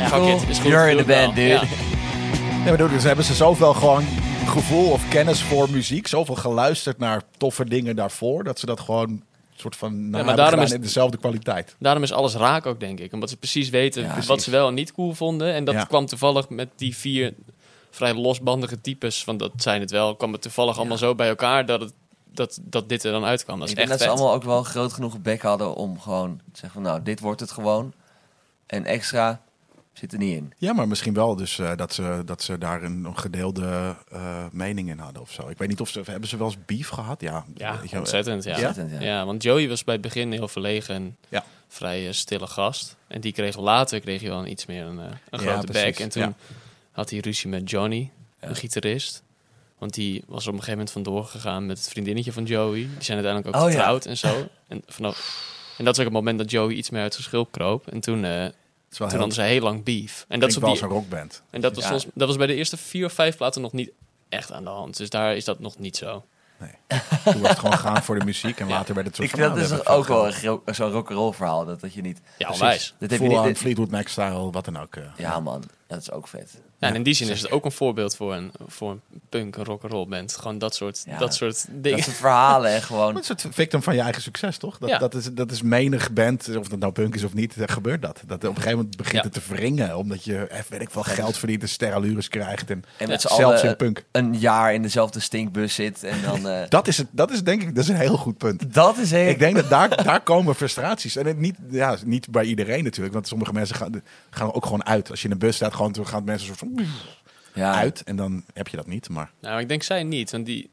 Fuck Cool. it, is goed. You're doe in het the band, wel. dude. Nee, maar dus hebben ze zoveel gewoon gevoel of kennis voor muziek, zoveel geluisterd naar toffe dingen daarvoor, dat ze dat gewoon soort van nou, hebben daarom gedaan is- in dezelfde kwaliteit. Daarom is alles raak ook, denk ik. Omdat ze precies weten wat precies. ze wel en niet cool vonden. En dat Ja. kwam toevallig met die vier vrij losbandige types, want dat zijn het wel, kwam het toevallig allemaal zo bij elkaar dat, het, dat, dat dit er dan uitkwam. Dat is ik denk echt dat ze vet. allemaal ook wel groot genoeg bek hadden om gewoon te zeggen van nou, dit wordt het gewoon. En extra zit er niet in. Ja, maar misschien wel dus eh, dat, ze, dat ze daar een, een gedeelde eh, mening in hadden of zo. Ik weet niet of ze hebben ze wel eens beef gehad. Ja, Ja, weet je wel. ontzettend. Ja. Ontzettend, ja? ja. want Joey was bij het begin heel verlegen en Ja. vrij eh, stille gast. En die kreeg later kreeg hij wel een iets meer een, eh, een Ja, grote precies, bek. En toen ja. had hij ruzie met Johnny, een gitarist. Want die was op een gegeven moment vandoor gegaan met het vriendinnetje van Joey. Die zijn uiteindelijk ook Oh, ja. getrouwd en zo. En, vanaf, en dat is ook het moment dat Joey iets meer uit zijn schulp kroop. En toen, eh Het is wel toen heel, hadden ze heel lang beef. En dat, is dat op wel die, als een rockband. en dat, was Ja. volgens- dat was bij de eerste vier of vijf platen nog niet echt aan de hand. Dus daar is dat nog niet zo. Toen was het gewoon gaan voor de muziek en Ja. later werd het soort Ik van... vind dat nou, is daar toch heb ik ook van wel een gro- zo'n rock'n'roll verhaal. Dat, dat je niet... Ja, Precies. onwijs. Dat heb gehoord. je niet, Full-on dit- Fleetwood Mac-style, wat dan ook. eh. Ja man, dat is ook vet. Ja, en in die zin is het ook een voorbeeld voor een, voor een punk, een rock'n'roll band. Gewoon dat soort, Ja, dat soort Dat dingen. soort verhalen en [laughs] Maar gewoon... Het is het victim van je eigen succes, toch? Dat, Ja. dat, is, dat is menig band, of dat nou punk is of niet, eh, gebeurt dat. Dat op een gegeven moment begint Ja. het te wringen, omdat je, eh, weet ik wel, geld verdient en sterrenlures krijgt en, Ja, En met z'n zelfs in allen punk. een jaar in dezelfde stinkbus zit en dan... eh, [laughs] Dat is, het, dat is denk ik, dat is een heel goed punt. dat is heel... Ik denk dat daar, daar komen frustraties. En het niet, ja, niet bij iedereen natuurlijk, want sommige mensen gaan, gaan ook gewoon uit. Als je in een bus staat, gewoon, dan gaan mensen soort van ja, uit. En dan heb je dat niet, maar... Nou, ik denk zij niet. Want die,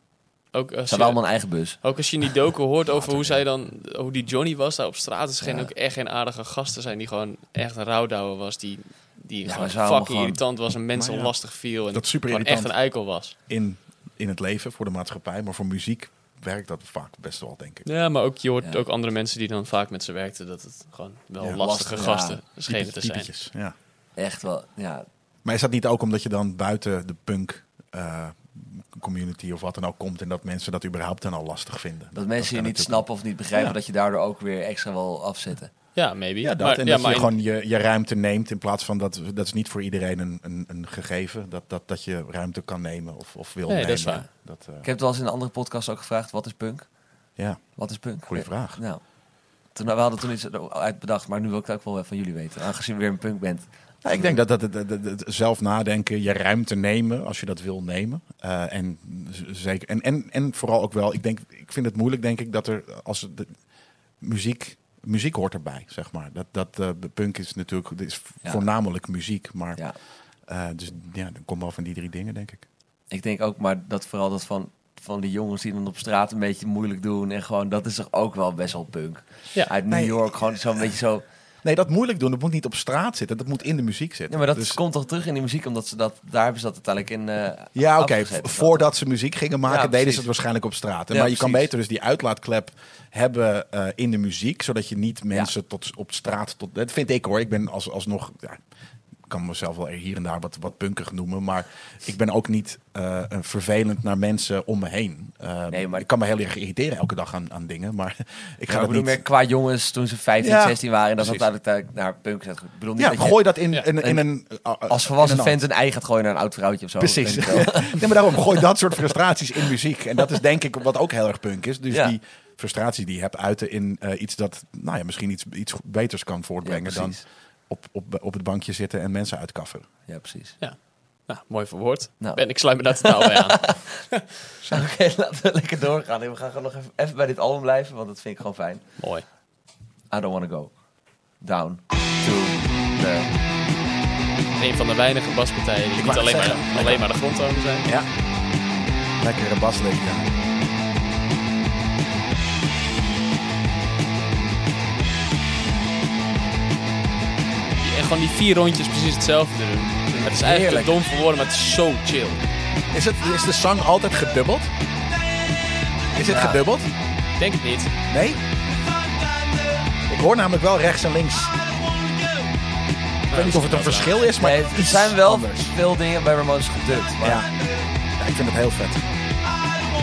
ook, als Ze je, hadden allemaal een eigen bus. ook als je in die [laughs] docu hoort over hoe zij dan, hoe die Johnny was daar op straat. Er schijnen Ja. ook echt geen aardige gasten zijn die gewoon echt een rouwdouwer was. Die, die maar gewoon ze waren fucking allemaal gewoon- irritant was en mensen Maar ja, lastig viel. En dat is super gewoon echt een irritant. eikel was. In, in het leven, voor de maatschappij, maar voor muziek werkt dat vaak best wel, denk ik. Ja, maar ook, je hoort Ja. ook andere mensen die dan vaak met ze werkten. Dat het gewoon wel Ja, lastige lastig, gasten schenen te Typetjes, zijn. typetjes, ja. Echt wel, ja. Maar is dat niet ook omdat je dan buiten de punk eh, community of wat dan ook komt en dat mensen dat überhaupt dan al lastig vinden? Dat mensen je kan niet natuurlijk snappen of niet begrijpen Ja. dat je daardoor ook weer extra wel afzetten. Ja, maybe. ook. Ja, dat. maar, en ja, dat maar je in- gewoon je, je ruimte neemt in plaats van dat, dat is niet voor iedereen een, een, een gegeven, dat, dat, dat je ruimte kan nemen of, of wil Nee, nemen. dat is waar. Dat, eh, Ik heb het wel eens in een andere podcast ook gevraagd, wat is punk? ja, Wat is punk? goede vraag. Nou, toen, we hadden toen iets uit bedacht, maar nu wil ik het ook wel van jullie weten. Aangezien we weer een punk bent. Ja, Nou, ik denk dat, dat, dat, dat- dat- zelf nadenken, je ruimte nemen als je dat wil nemen. Eh, en, z- zeker, en, en, en vooral ook wel, ik, denk, ik vind het moeilijk, denk ik, dat er als het- de, muziek, muziek hoort erbij, zeg maar. Dat, dat eh, punk is natuurlijk dit is Ja. voornamelijk muziek, maar Ja, eh, dus ja, dan komt wel van die drie dingen, denk ik. ik denk ook, maar dat vooral dat van, van die jongens die dan op straat een beetje moeilijk doen. En gewoon, dat is toch ook wel best wel punk. Ja. Uit New Nee. York, gewoon zo'n beetje zo. Nee, dat moeilijk doen, dat moet niet op straat zitten, dat moet in de muziek zitten. Ja, maar dat Dus- komt toch terug in die muziek, omdat ze dat, daar hebben ze dat uiteindelijk in eh, Ja, oké. afgezet. v- Voordat ze muziek gingen maken, Ja, deden precies. ze het waarschijnlijk op straat. hè? Ja, maar je kan precies. beter dus die uitlaatklep hebben eh, in de muziek, zodat je niet mensen tot op straat tot. Dat vind ik hoor. Ik ben als, alsnog. Ja, ik kan mezelf wel hier en daar wat, wat punkig noemen, maar ik ben ook niet eh, een vervelend naar mensen om me heen. Eh, Nee, maar- Ik kan me heel erg irriteren elke dag aan, aan dingen, maar [laughs] ik Ik ga ga dat bedoel niet... meer qua jongens toen ze 15, Ja, 16 waren. En dat precies. dat uiteindelijk naar punk zet. Ik bedoel niet Ja, dat je gooi dat in, Ja. in, in een... eh, als volwassen in een fans een ei gaat gooien naar een oud vrouwtje of zo. Precies. [laughs] Weet ik [laughs] wel. Nee, maar daarom gooi dat soort frustraties in muziek. En dat is denk ik wat ook heel erg punk is. Dus Ja. die frustratie die je hebt uiten in eh, iets dat, nou ja, misschien iets, iets beters kan voortbrengen Ja, dan precies. op, op, op het bankje zitten en mensen uitkaffen. Ja, precies. Nou, mooi verwoord. Nou. Ben, ik sluit [laughs] me daar totaal bij aan. [laughs] Oké, laten we lekker doorgaan. We gaan gewoon nog even, even bij dit album blijven, want dat vind ik gewoon fijn. Mooi. I don't wanna go down to the een van de weinige baspartijen die Ik niet wou alleen net maar, zeggen. alleen maar de grondtonen zijn. Ja. Lekkere baslick, ja. En gewoon die vier rondjes precies hetzelfde te doen. Het is eigenlijk Heerlijk. te dom voor woorden, maar het is zo chill. Is, het, is de zang altijd gedubbeld? Is het Ja. gedubbeld? Ik Denk het niet. Nee? Ik hoor namelijk wel rechts en links. Ik weet niet of het een verschil is, maar Nee, het er is zijn wel anders. veel dingen bij Ramones gedubt. Maar Ja. Ja, ik vind het heel vet.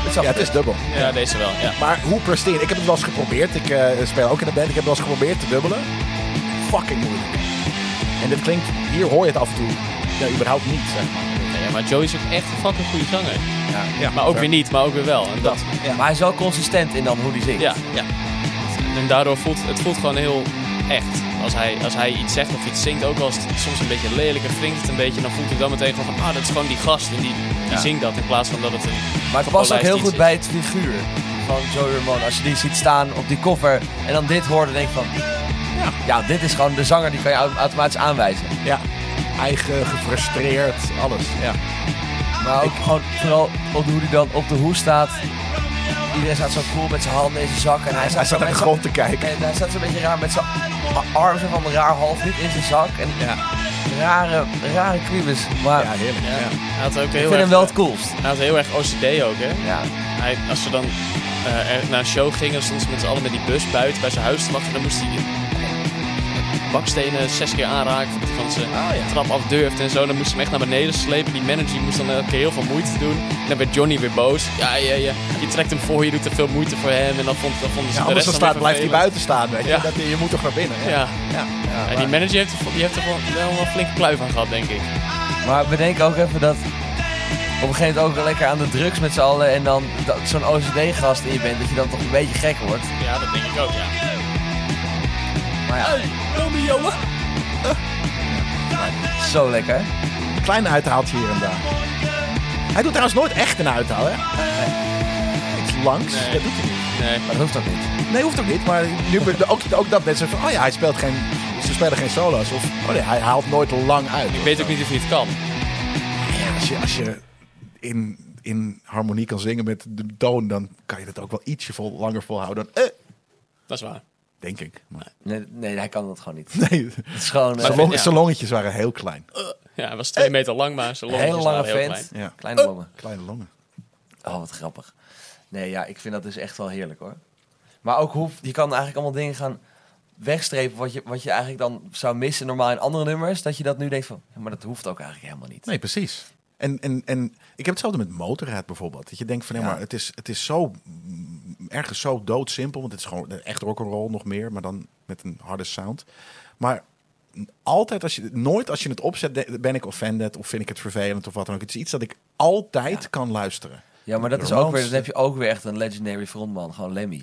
het, Ja, het is dubbel. Ja, deze wel. Ja. Maar hoe presteren? Ik heb het wel eens geprobeerd. Ik eh, speel ook in de band. Ik heb wel eens geprobeerd te dubbelen. Fucking moeilijk. En dit klinkt... Hier hoor je het af en toe. Ja, überhaupt niet, zeg maar. Nee, maar Joey is ook echt een fucking goede zanger. Ja, Maar ook zo. weer niet, maar ook weer wel. En, dat, Maar hij is wel consistent in dan hoe hij zingt. ja, ja. en daardoor voelt het voelt gewoon heel echt. Als hij, als hij iets zegt of iets zingt, ook als het soms een beetje lelijk en flinkt het een beetje, dan voelt hij dan meteen gewoon van, ah, dat is gewoon die gast en die, die Ja. zingt dat in plaats van dat het een... Maar het past ook Allerlei heel iets goed is. bij het figuur van Joey Ramone. Als je die ziet staan op die koffer en dan dit hoort, dan denk je van... Ja, dit is gewoon de zanger, die kan je au- automatisch aanwijzen. Ja. Eigen, gefrustreerd, alles. Ja. Maar ook gewoon vooral op hoe hij dan op de hoes staat. Iedereen staat zo cool met zijn handen in zijn zak. En hij Hij staat, zo staat naar met de zijn- grond te kijken. En hij staat zo'n beetje raar met zijn a- arm zo van een raar half niet in zijn zak. En rare, rare kriebels. Maar Ja, heerlijk. Ja. Ja. Hij had ook heel ik vind erg, hem wel het coolst. hij had heel erg OCD ook, hè? Ja. Hij, als ze dan eh, er- naar een show gingen, stonden ze met z'n allen met die bus buiten bij zijn huis te wachten. Dan moest hij bakstenen zes keer aanraken voordat hij van zijn Ah, trap af durfde en zo. Dan moest ze hem echt naar beneden slepen. Die manager die moest dan elke keer heel veel moeite doen. En dan werd Johnny weer boos. Ja, ja, ja. Je trekt hem voor, je doet te veel moeite voor hem. En dan vond dan vonden ze Ja, de anders rest dan dan weer staat, blijft hij vervelend. buiten staan. Weet je? Ja. Dat, je moet toch naar binnen. Ja. Ja. Ja. En die manager heeft, er- die heeft er wel- wel een flinke pluim van gehad, denk ik. Maar bedenk ook even dat op een gegeven moment ook lekker aan de drugs met z'n allen en dan dat zo'n OCD-gast in je bent, dat je dan toch een beetje gek wordt. Ja, dat denk ik ook, ja. Maar ja, Romeo, Eh. zo lekker. Klein uithaaltje hier en daar. Hij doet trouwens nooit echt een uithaal, hè? Iets langs. Nee. Dat doet hij niet. Nee. Maar dat hoeft ook niet. Nee, hoeft ook niet. Maar nu be- ook, ook dat mensen van, oh ja, hij speelt geen, ze spelen geen solo's. Of, oh nee, hij haalt nooit lang uit. Ik weet ook niet of hij het kan. Ja, als je, als je in, in harmonie kan zingen met de toon, dan kan je dat ook wel ietsje vol, langer volhouden dan, eh, Dat is waar. denk ik. Maar, Nee, nee, hij kan dat gewoon niet. [laughs] nee, Het is gewoon eh, Maar zijn een long- ja. zijn longetjes waren heel klein. Ja, hij was twee meter lang, maar zijn longetjes hele lange waren heel vent. klein. klein. Ja. Kleine longen. Kleine longen. Oh, wat grappig. Nee, ja, ik vind dat dus echt wel heerlijk hoor. Maar ook hoe, je kan eigenlijk allemaal dingen gaan wegstrepen wat je, wat je eigenlijk dan zou missen normaal in andere nummers. Dat je dat nu denkt van, ja, maar dat hoeft ook eigenlijk helemaal niet. Nee, precies. En, en, en ik heb hetzelfde met Motorhead bijvoorbeeld. Dat je denkt van, nee, Ja. maar het is, het is zo, mm, ergens zo doodsimpel. Want het is gewoon echt rock'n'roll nog meer, maar dan met een harde sound. Maar altijd als je, nooit als je het opzet, de- ben ik offended of vind ik het vervelend of wat dan ook. Het is iets dat ik altijd kan luisteren. Ja, maar dat is Romans. ook weer, dan heb je ook weer echt een legendary frontman, gewoon Lemmy.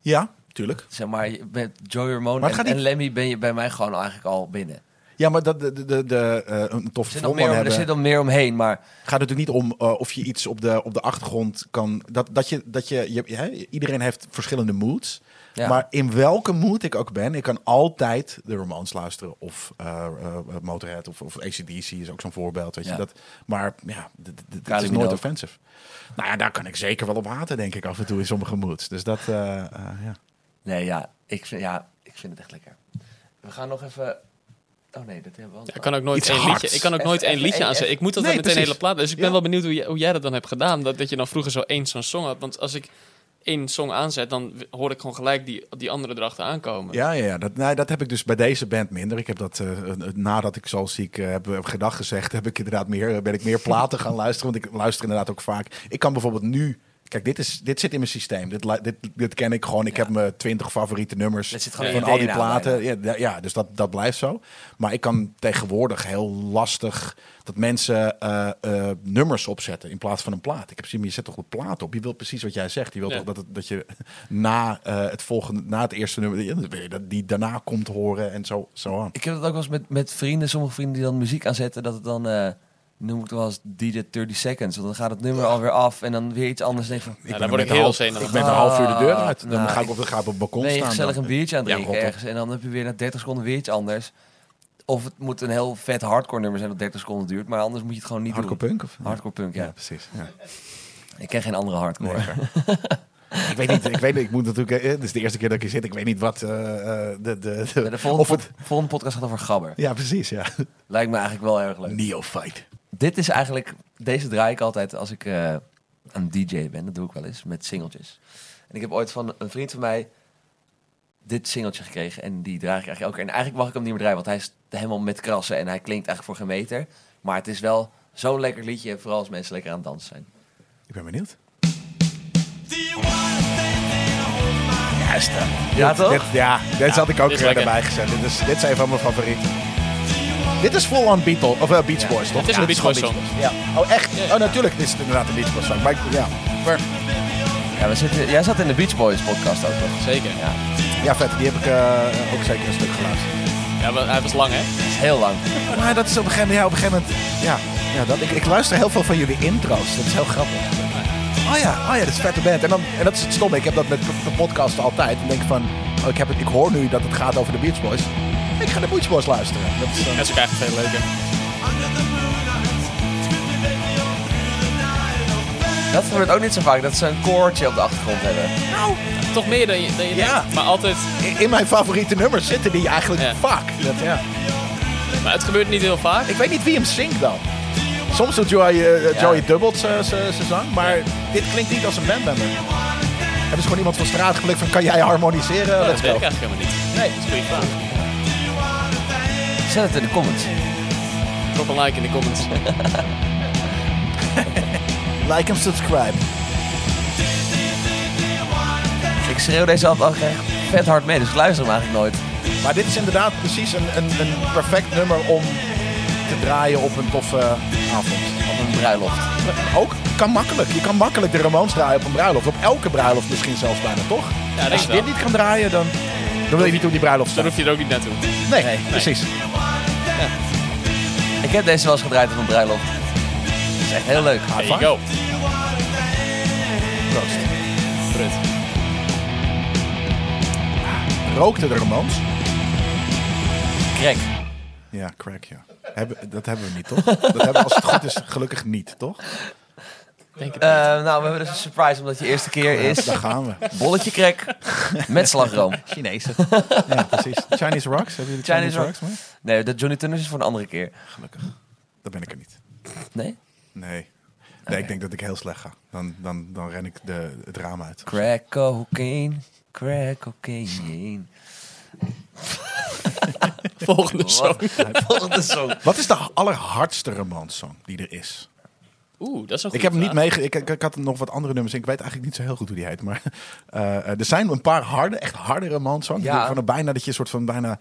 Ja, tuurlijk. Zeg maar, je- met Joey Ramone Maar en, het gaat en niet- Lemmy ben je bij mij gewoon eigenlijk al binnen. Er Ja, maar dat, de, de, de, de, eh, een toffe zit, nog frontman meer, om- er hebben. zit nog meer omheen, maar gaat het natuurlijk niet om eh, of je iets op de, op de achtergrond kan. Dat, dat je, dat je, je, hè, iedereen heeft verschillende moods. Ja. Maar in welke mood ik ook ben, ik kan altijd de romans luisteren. Of eh eh, Motorhead of, of ACDC is ook zo'n voorbeeld. Weet Ja. je, dat, maar ja, d- d- d- Kylie het is nooit Minogue. offensive. Nou ja, daar kan ik zeker wel op haten, denk ik, af en toe in sommige moods. Dus dat, eh, eh, ja. nee, ja ik, vind, ja, ik vind het echt lekker. We gaan nog even... Oh nee, dat hebben we al. Ja, ik kan ook nooit Iets één hards. liedje. Ik kan ook Even- nooit één even liedje één- aanzetten. Ik moet dat Nee, dan meteen een precies. hele plaat. Dus ik ben Ja. wel benieuwd hoe, jij- hoe jij dat dan hebt gedaan. Dat, dat je dan vroeger zo één zo'n song had. Want als ik één song aanzet, dan w- hoor ik gewoon gelijk die, die andere erachter aankomen. Ja, ja, ja. Dat, nou, dat heb ik dus bij deze band minder. Ik heb dat eh, eh, nadat ik zo ziek eh, heb, heb gedag gezegd, heb ik inderdaad meer, eh, ben ik meer platen gaan luisteren. Want ik luister inderdaad ook vaak. Ik kan bijvoorbeeld nu. Kijk, dit, is, dit zit in mijn systeem. Dit, lu- dit, dit ken ik gewoon. Ik heb mijn twintig favoriete nummers Dit zit gewoon van in je al die DNA platen. Ja, da- ja, dus dat, dat blijft zo. Maar ik kan tegenwoordig heel lastig dat mensen eh, eh, nummers opzetten in plaats van een plaat. Ik heb gezien, maar je zet toch een plaat op. Je wilt precies wat jij zegt. Je wilt Ja. toch dat, het- dat je na, eh, het volgende, na het eerste nummer, ja, dat wil je dat die daarna komt horen en zo, zo aan. Ik heb dat ook wel eens met, met vrienden, sommige vrienden die dan muziek aanzetten, dat het dan, eh, noem ik het wel eens DJ 30 Seconds, want dan gaat het nummer alweer af en dan weer iets anders. En denk ik van, Ja, ben daar er word met ik heel half- zenuwachtig Ik ben een half uur de deur uit. Dan Nou, ga ik op, dan ga ik op het balkon ben je staan. gezellig dan. een biertje aan het Ja, drinken rot op. ergens en dan heb je weer na 30 seconden weer iets anders. Of het moet een heel vet hardcore nummer zijn dat 30 seconden duurt. Maar anders moet je het gewoon niet Hardcore doen. punk? Of? Hardcore punk, ja. Ja, precies. Ja. Ik ken geen andere hardcore. Nee, ik weet niet, ik weet niet, ik moet natuurlijk, eh, dit is de eerste keer dat ik hier zit, ik weet niet wat, eh, eh, de, de, de- Bij De volgende, of het, pod- volgende podcast gaat over gabber. ja precies, ja. Lijkt me eigenlijk wel erg leuk. Neophyte. Dit is eigenlijk, deze draai ik altijd als ik eh een DJ ben. Dat doe ik wel eens met singeltjes. En ik heb ooit van een vriend van mij dit singeltje gekregen. En die draag ik eigenlijk ook. En eigenlijk mag ik hem niet meer draaien, want hij is helemaal met krassen. En hij klinkt eigenlijk voor geen meter. Maar het is wel zo'n lekker liedje, vooral als mensen lekker aan het dansen zijn. Ik ben benieuwd. Ja, toch? Dit, ja, dit had ik ook dit is eh, lekker. erbij gezet. Dit, is, dit zijn van mijn favorieten. Dit is vol aan Beatle, of eh, Beach Boys, toch? Het is Ja, een dit Beach gewoon Boys Beach Boys. Ja. Oh, echt? Ja, ja. Oh, natuurlijk. Dit is inderdaad een Beach Boys song. Maar ik, ja. Maar- Ja, we zitten, jij zat in de Beach Boys podcast ook nog. Zeker. Ja, ja, vet. Die heb ik eh, ook zeker een stuk geluisterd. Ja, maar hij was lang, hè? dat is heel lang. Maar dat is op een gegeven moment... Ja, op een gegeven moment ja, ja, dat, ik, ik luister heel veel van jullie intro's. Dat is heel grappig. Oh ja, oh ja, dat is vette band. En, dan, en dat is het stomme. Ik heb dat met de podcast altijd. Dan denk ik van... Oh, ik, heb het, ik hoor nu dat het gaat over de Beach Boys. Ik ga de Beach Boys luisteren. Dat is dan- Dat is ook eigenlijk veel leuker. Dat gebeurt ook niet zo vaak, dat ze een koortje op de achtergrond hebben. Toch meer dan je, dan je Ja. denkt. Maar altijd... in, in mijn favoriete nummers zitten die eigenlijk Ja. vaak. Dat, ja. Maar het gebeurt niet heel vaak. Ik weet niet wie hem zingt dan. Soms doet Joey, eh, Ja. Joey Dubbelt zijn zang, maar dit klinkt niet als een bandmember. Hebben ze gewoon iemand van straat gelukt van kan jij harmoniseren? dat Let's weet go. ik eigenlijk helemaal niet. Nee, dat is een goede vraag. Zet het in de comments. Drop een like in de [laughs] comments. Like en subscribe. Ik schreeuw deze altijd al echt vet hard mee, dus ik luister hem eigenlijk nooit. Maar dit is inderdaad precies een, een, een perfect nummer om te draaien op een toffe avond. Op een bruiloft. Ook kan makkelijk. Je kan makkelijk de Ramones draaien op een bruiloft. Op elke bruiloft misschien zelfs bijna, toch? denk Als ik je wel. dit niet kan draaien, dan, dan wil je niet op die bruiloft Dan staan. hoef je er ook niet naartoe. Nee, precies. Ik heb deze wel eens gedraaid op een bruiloft. Dat is echt heel leuk. There you go. Proost. Prut. [laughs] Rookte de Ramones? Krek. Ja, crack, ja. Hebben, dat hebben we niet, [laughs] toch? Dat hebben we als het goed is gelukkig niet, toch? Denk het. Eh, nou, we hebben dus een surprise omdat je eerste keer is. Daar gaan we. Bolletje krek [laughs] met slagroom. Chinezen. Ja, precies. Chinese Rocks, hebben jullie Chinese Chinese, Rocks? rock. Nee, dat Johnny Tunners is voor een andere keer. Gelukkig. Dat ben ik er niet. Nee? Nee. Nee, ik denk dat ik heel slecht ga. Dan, dan, dan ren ik de, het raam uit. Crack cocaine, crack cocaine. Volgende song. Volgende song. Wat is de allerhardste romansong die er is? Oeh, dat is een goede Ik heb hem niet vraag. meege... Ik, ik, ik had nog wat andere nummers in. Ik weet eigenlijk niet zo heel goed hoe die heet. Maar [laughs] eh, er zijn een paar harde, echt harde romansongs. Ja. Van een bijna dat je een soort van bijna...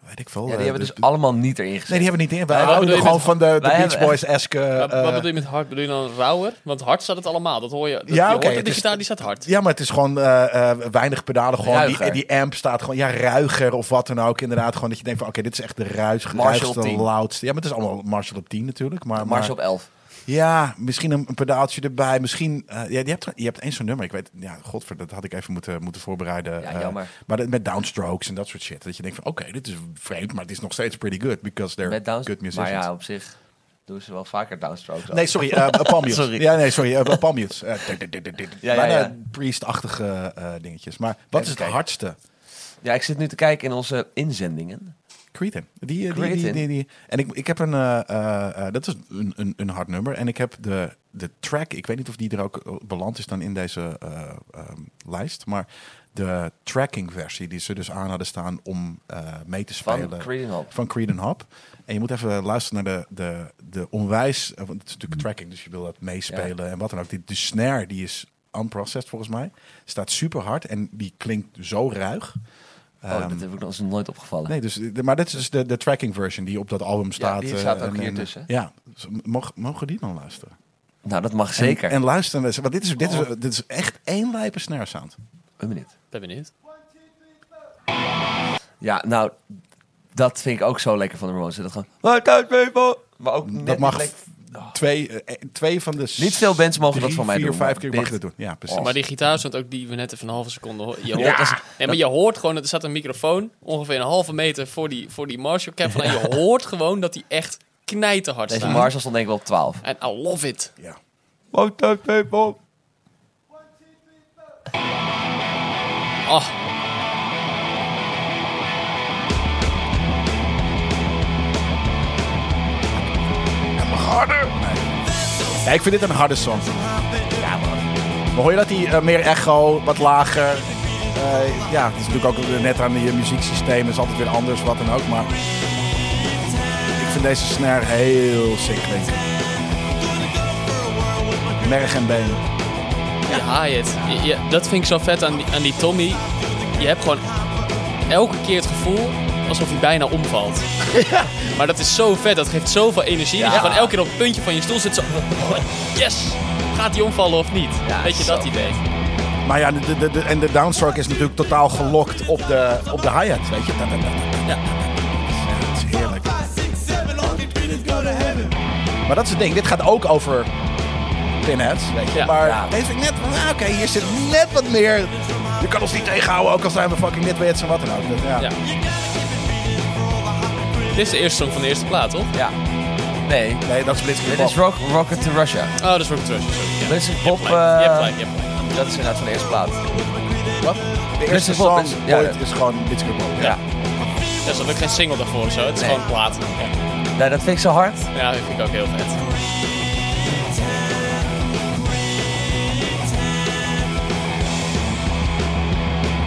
Weet ik veel. Ja, eh, die hebben de- dus allemaal niet erin gezet. Nee, die hebben we niet in. Wij Nee, wat houden bedoel je gewoon van de, de Wij Beach hebben- [laughs] Boys-esque... Wat, wat eh, bedoel je met hard? Bedoel je dan rauwer? Want hard staat het allemaal. Dat hoor je. Dat, Ja, je oké, hoort het, het de is- gitaar die staat hard. ja, maar het is gewoon eh, eh, weinig pedalen. Gewoon die, Ruiger. die amp staat gewoon ja, ruiger of wat dan ook. Inderdaad, gewoon dat je denkt van oké, dit is echt de ruis, Marshall op ruigste, 10. loudste. Ja, maar het is allemaal Marshall op 10 natuurlijk. Maar, Mars maar- op 11. Ja, misschien een, een pedaaltje erbij. Misschien, eh, ja, je hebt, je hebt eens zo'n nummer. Ik weet, ja, godver, dat had ik even moeten, moeten voorbereiden. Ja, eh, jammer. maar dat, met downstrokes en dat soort shit. Dat je denkt van oké, dit is vreemd, maar het is nog steeds pretty good. Because they're Met Downs. good musicians. Maar ja, op zich doen ze wel vaker downstrokes. Nee, sorry, eh [laughs] Palm Mutes. Sorry. Ja, nee, sorry, eh, Palm Mutes. Eh, dit, dit, dit, dit, dit. Ja, ja, Bijna ja. priest-achtige eh, dingetjes. Maar wat is het kijken. hardste? Ja, ik zit nu te kijken in onze inzendingen. Cretan. Die, eh, die, die, Cretan. die, die- En ik, ik heb een... eh, eh, eh, dat is een, een, een hard nummer. En ik heb de, de track... Ik weet niet of die er ook eh, beland is dan in deze eh, ehm, lijst. Maar de tracking versie die ze dus aan hadden staan om eh, mee te spelen. Van Creedon Hop. van Creed and Hop. En je moet even luisteren naar de, de, de onwijs... eh, Want het is Hmm. natuurlijk tracking, dus je wil dat meespelen en wat dan ook. Die, de snare, die is unprocessed volgens mij. Staat super hard en die klinkt zo ruig. oh, Ehm, dat heb ik nog eens nooit opgevallen. Nee, dus, de- maar dit is dus de, de tracking version die op dat album staat. die eh, staat ook en- hier en- tussen. Ja, Dus mog- mogen die dan luisteren? Nou, dat mag zeker. Oh. En, en luisteren mensen, want dit is, dit, is, dit is echt één lijpe snare sound. Een minuut. Ben benieuwd. Ja, nou, "Ah, dat vind ik ook zo lekker van de Ramones. Dat gewoon... Maar ook net dat niet mag lekker- twee, eh, eh, twee van de... s- Niet veel bands mogen drie, dat van mij vier, doen. vijf man. keer Dit- mag je dat doen. Ja, precies. Oh. Maar die gitaarstand ook die we net even een halve seconde... ho- Je hoort, Ja, dat is- nee, maar je hoort gewoon, er staat een microfoon ongeveer een halve meter voor die, voor die Marshall cap. En [laughs] je hoort gewoon dat die echt knijterhard Deze staat. Marshall stond denk ik wel op 12. En I love it. Ja. Motown people. Ah, Ja, ik vind dit een harde song. Ja, man. Maar hoor je dat die eh, meer echo, wat lager... eh, ja, het is natuurlijk ook net aan je muzieksysteem. is altijd weer anders, wat dan ook. Maar ik vind deze snare heel sick klinken. Merg en been. die hi-hat. Je- je- Dat vind ik zo vet aan die, aan die Tommy. Je hebt gewoon elke keer het gevoel alsof hij bijna omvalt. Maar dat is zo vet, dat geeft zoveel energie. Dat je gewoon elke keer op het puntje van [laughs] je stoel zit zo... Yes! Gaat hij omvallen of niet? Ja, Weet je zo dat idee? Maar ja, de, de, de, en de downstroke is natuurlijk totaal gelokt op de, op de hi-hat. Weet je? Dat, dat, dat, dat. Ja. Ja, dat is heerlijk. Five, six, seven, all you dreamers go to heaven. Maar dat is het ding. Dit gaat ook over pinheads, weet je. Ja. maar Ja. deze vind ik net van, ah, oké, hier zit net wat meer. Je kan ons niet tegenhouden, ook al zijn we fucking nitwits en wat dan ook. Dat- Ja. Ja. Ja. Dit is de eerste song van de eerste plaat, toch? Ja. Nee. Nee, dat is Blitzkrieg Dit is Bob. rock, Rocket to Russia. Oh, dat is Rocket Rush. sorry. Ja. Dit is Bob... Je hebt eh, gelijk, je hebt gelijk. dat is inderdaad van de eerste plaat. Wat? De eerste is Bob, song dit is- ja, ooit dat- is gewoon Blitzkrieg Bob. Ja. Er zat ook geen single daarvoor of zo, het is Nee. gewoon een plaat. Ja. Nee, dat vind ik zo hard. ja, dat vind ik ook heel vet.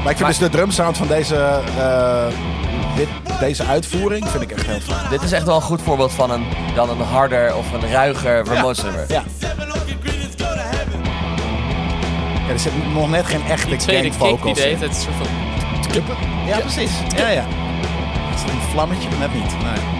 Maar ik vind dus de drumsound van deze, eh, dit, deze uitvoering vind ik echt heel fijn. Dit is echt wel een goed voorbeeld van een, dan een harder of een ruiger remote nummer. Ja. Seven, all you dreamers go to heaven. ja, er zit nog net geen echte Die tweede gang kick die vocals deed, in. het soort van... Ja, precies. Ja, ja. Is het een vlammetje? Net niet. Nee.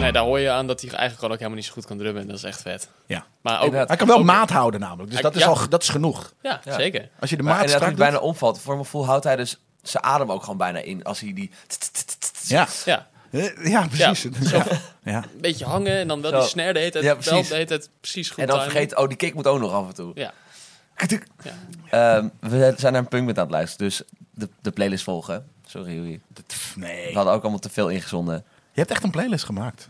Nee, daar hoor je aan dat hij eigenlijk gewoon ook helemaal niet zo goed kan drummen. Dat is echt vet. Ja. Maar ook... Inderdaad. Hij kan wel ook- maat houden namelijk, dus Hij- dat is, ja. al, dat is genoeg. Ja, Ja. zeker. Als je de Maar maat inderdaad, strak hij doet- bijna omvalt. Voor mijn gevoel houdt hij dus zijn adem ook gewoon bijna in. Als hij die... Ja. Ja, Eh, Ja, precies. Ja. [laughs] Ja. Ja. een beetje hangen en dan wel Zo. die snare de hele tijd, Ja, wel precies. de hele tijd precies goed En dan timen. vergeet, oh, die kick moet ook nog af en toe. Ja. Ehm, we zijn naar een punkband aan het luisteren, dus de, de playlist volgen. Sorry, Joey. Dat- pff, Nee. We hadden ook allemaal te veel ingezonden. Je hebt echt een playlist gemaakt.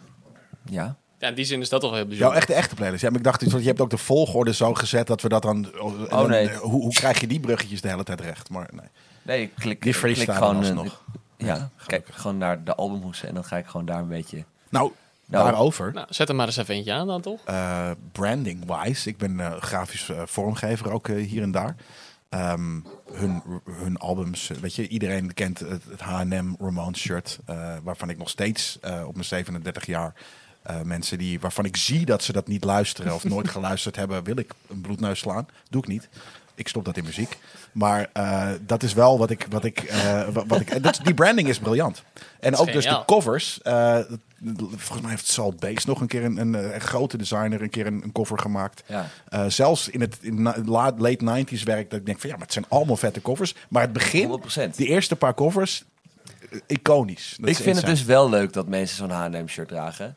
Ja. ja, in die zin is dat toch wel heel Jouw bijzonder. echte, echte playlist. Ja, maar ik dacht, iets, want je hebt ook de volgorde zo gezet dat we dat dan... en dan- nee. eh, Hoe, hoe krijg je die bruggetjes de hele tijd recht? Maar nee. Nee, ik klik, Die ik klik freestyle gewoon... eh, alsnog. ja, kijk gewoon naar de albumhoesen en dan ga ik gewoon daar een beetje... Nou, Nou. daarover. Nou, zet hem maar eens even eentje aan dan, toch? eh, Branding-wise. Ik ben eh, grafisch eh, vormgever ook eh, hier en daar. Ehm, hun, hun albums, eh, weet je, iedereen kent het, het H&M Ramones shirt, eh, waarvan ik nog steeds eh, op mijn 37 jaar eh, mensen die, waarvan ik zie dat ze dat niet luisteren [laughs] of nooit geluisterd hebben, wil ik een bloedneus slaan. Doe ik niet. Ik stop dat in muziek. Maar eh, dat is wel wat ik, wat ik, eh, wa- wat ik en dat, is- die branding is briljant. En is ook dus de geniaal. covers. eh, volgens mij heeft Salt Bass nog een keer een, een, eh, grote designer een keer een, een cover gemaakt. Ja. Eh, zelfs in het in na- la- late 90s werk, dat ik denk van ja, maar het zijn allemaal vette covers. Maar het begin, 100%. die eerste paar covers, eh, iconisch. Dat ik is vind insane. het dus wel leuk dat mensen zo'n H&M-shirt dragen.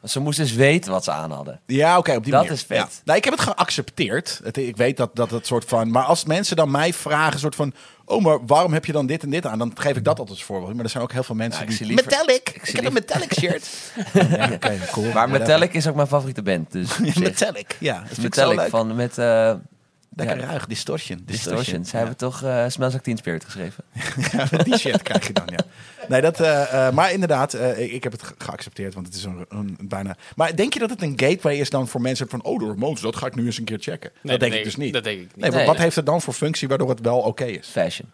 Want ze moesten dus weten wat ze aan hadden. Ja, oké, op die dus- Dat manier. is vet. Ja. Nou, ik heb het geaccepteerd. Het, ik weet dat, dat het soort van... Maar als mensen dan mij vragen, soort van... Oh, maar waarom heb je dan dit en dit aan? Dan geef ik dat altijd als voorbeeld. Maar er zijn ook heel veel mensen Nou, ik die... zie liever- metallic! Ik, zie heb een Metallic shirt. ja, [laughs] oké, cool. Maar Whatever. Metallic is ook mijn favoriete band, [laughs] dus... op zich. Metallic, ja. Dat vind ik zo Metallic leuk. van met... eh, Lekker ja, ruig, distortion. Distortion. Ze Ja. hebben toch eh Smells Like Teen Spirit [laughs] geschreven? Ja, maar die shit krijg je dan, ja. Nee, dat, eh, eh, maar inderdaad, eh, ik, ik heb het ge- geaccepteerd, want het is een, een, een bijna... Maar denk je dat het een gateway is dan voor mensen van... Oh, de Ramones, dat ga ik nu eens een keer checken. dat denk ik dus niet. Dat denk ik niet. Nee, want Nee. wat heeft het dan voor functie waardoor het wel oké is? Fashion.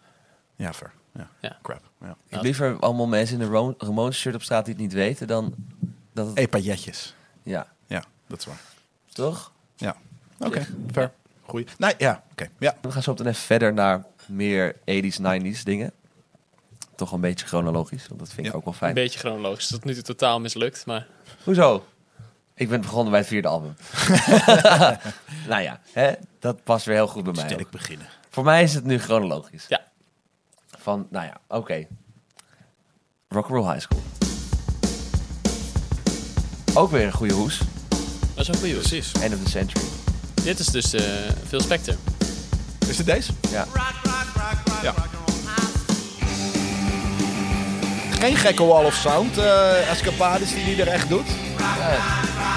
Ja, ver. Ja. Ja. Crap. Ja. Ik heb liever allemaal mensen in een Ro- Ramones shirt op straat die het niet weten dan dat het... Hey, pailletjes. Ja, Ja, dat is waar. toch? Ja. Oké, ver. Goeie. Nee, ja, oké. Ja. We gaan zo meteen even verder naar meer 80s, 90s dingen. Toch een beetje chronologisch, want dat vind ik Ja. ook wel Een fijn. beetje chronologisch. Tot nu toe totaal mislukt, maar... Hoezo? Ik ben begonnen bij het vierde [laughs] album. nou ja, hè? dat past weer heel goed bij mij. ook. beginnen. Voor mij is het nu chronologisch. Ja. Van, nou ja, oké. Rock Rock'n'Roll High School. Ook weer een goede hoes. Dat is ook goed, joh. Precies. End of the century. Dit is dus eh Phil Spector. Is dit deze? Ja. Ja. Geen gekke wall of sound eh escapades die hij er echt doet.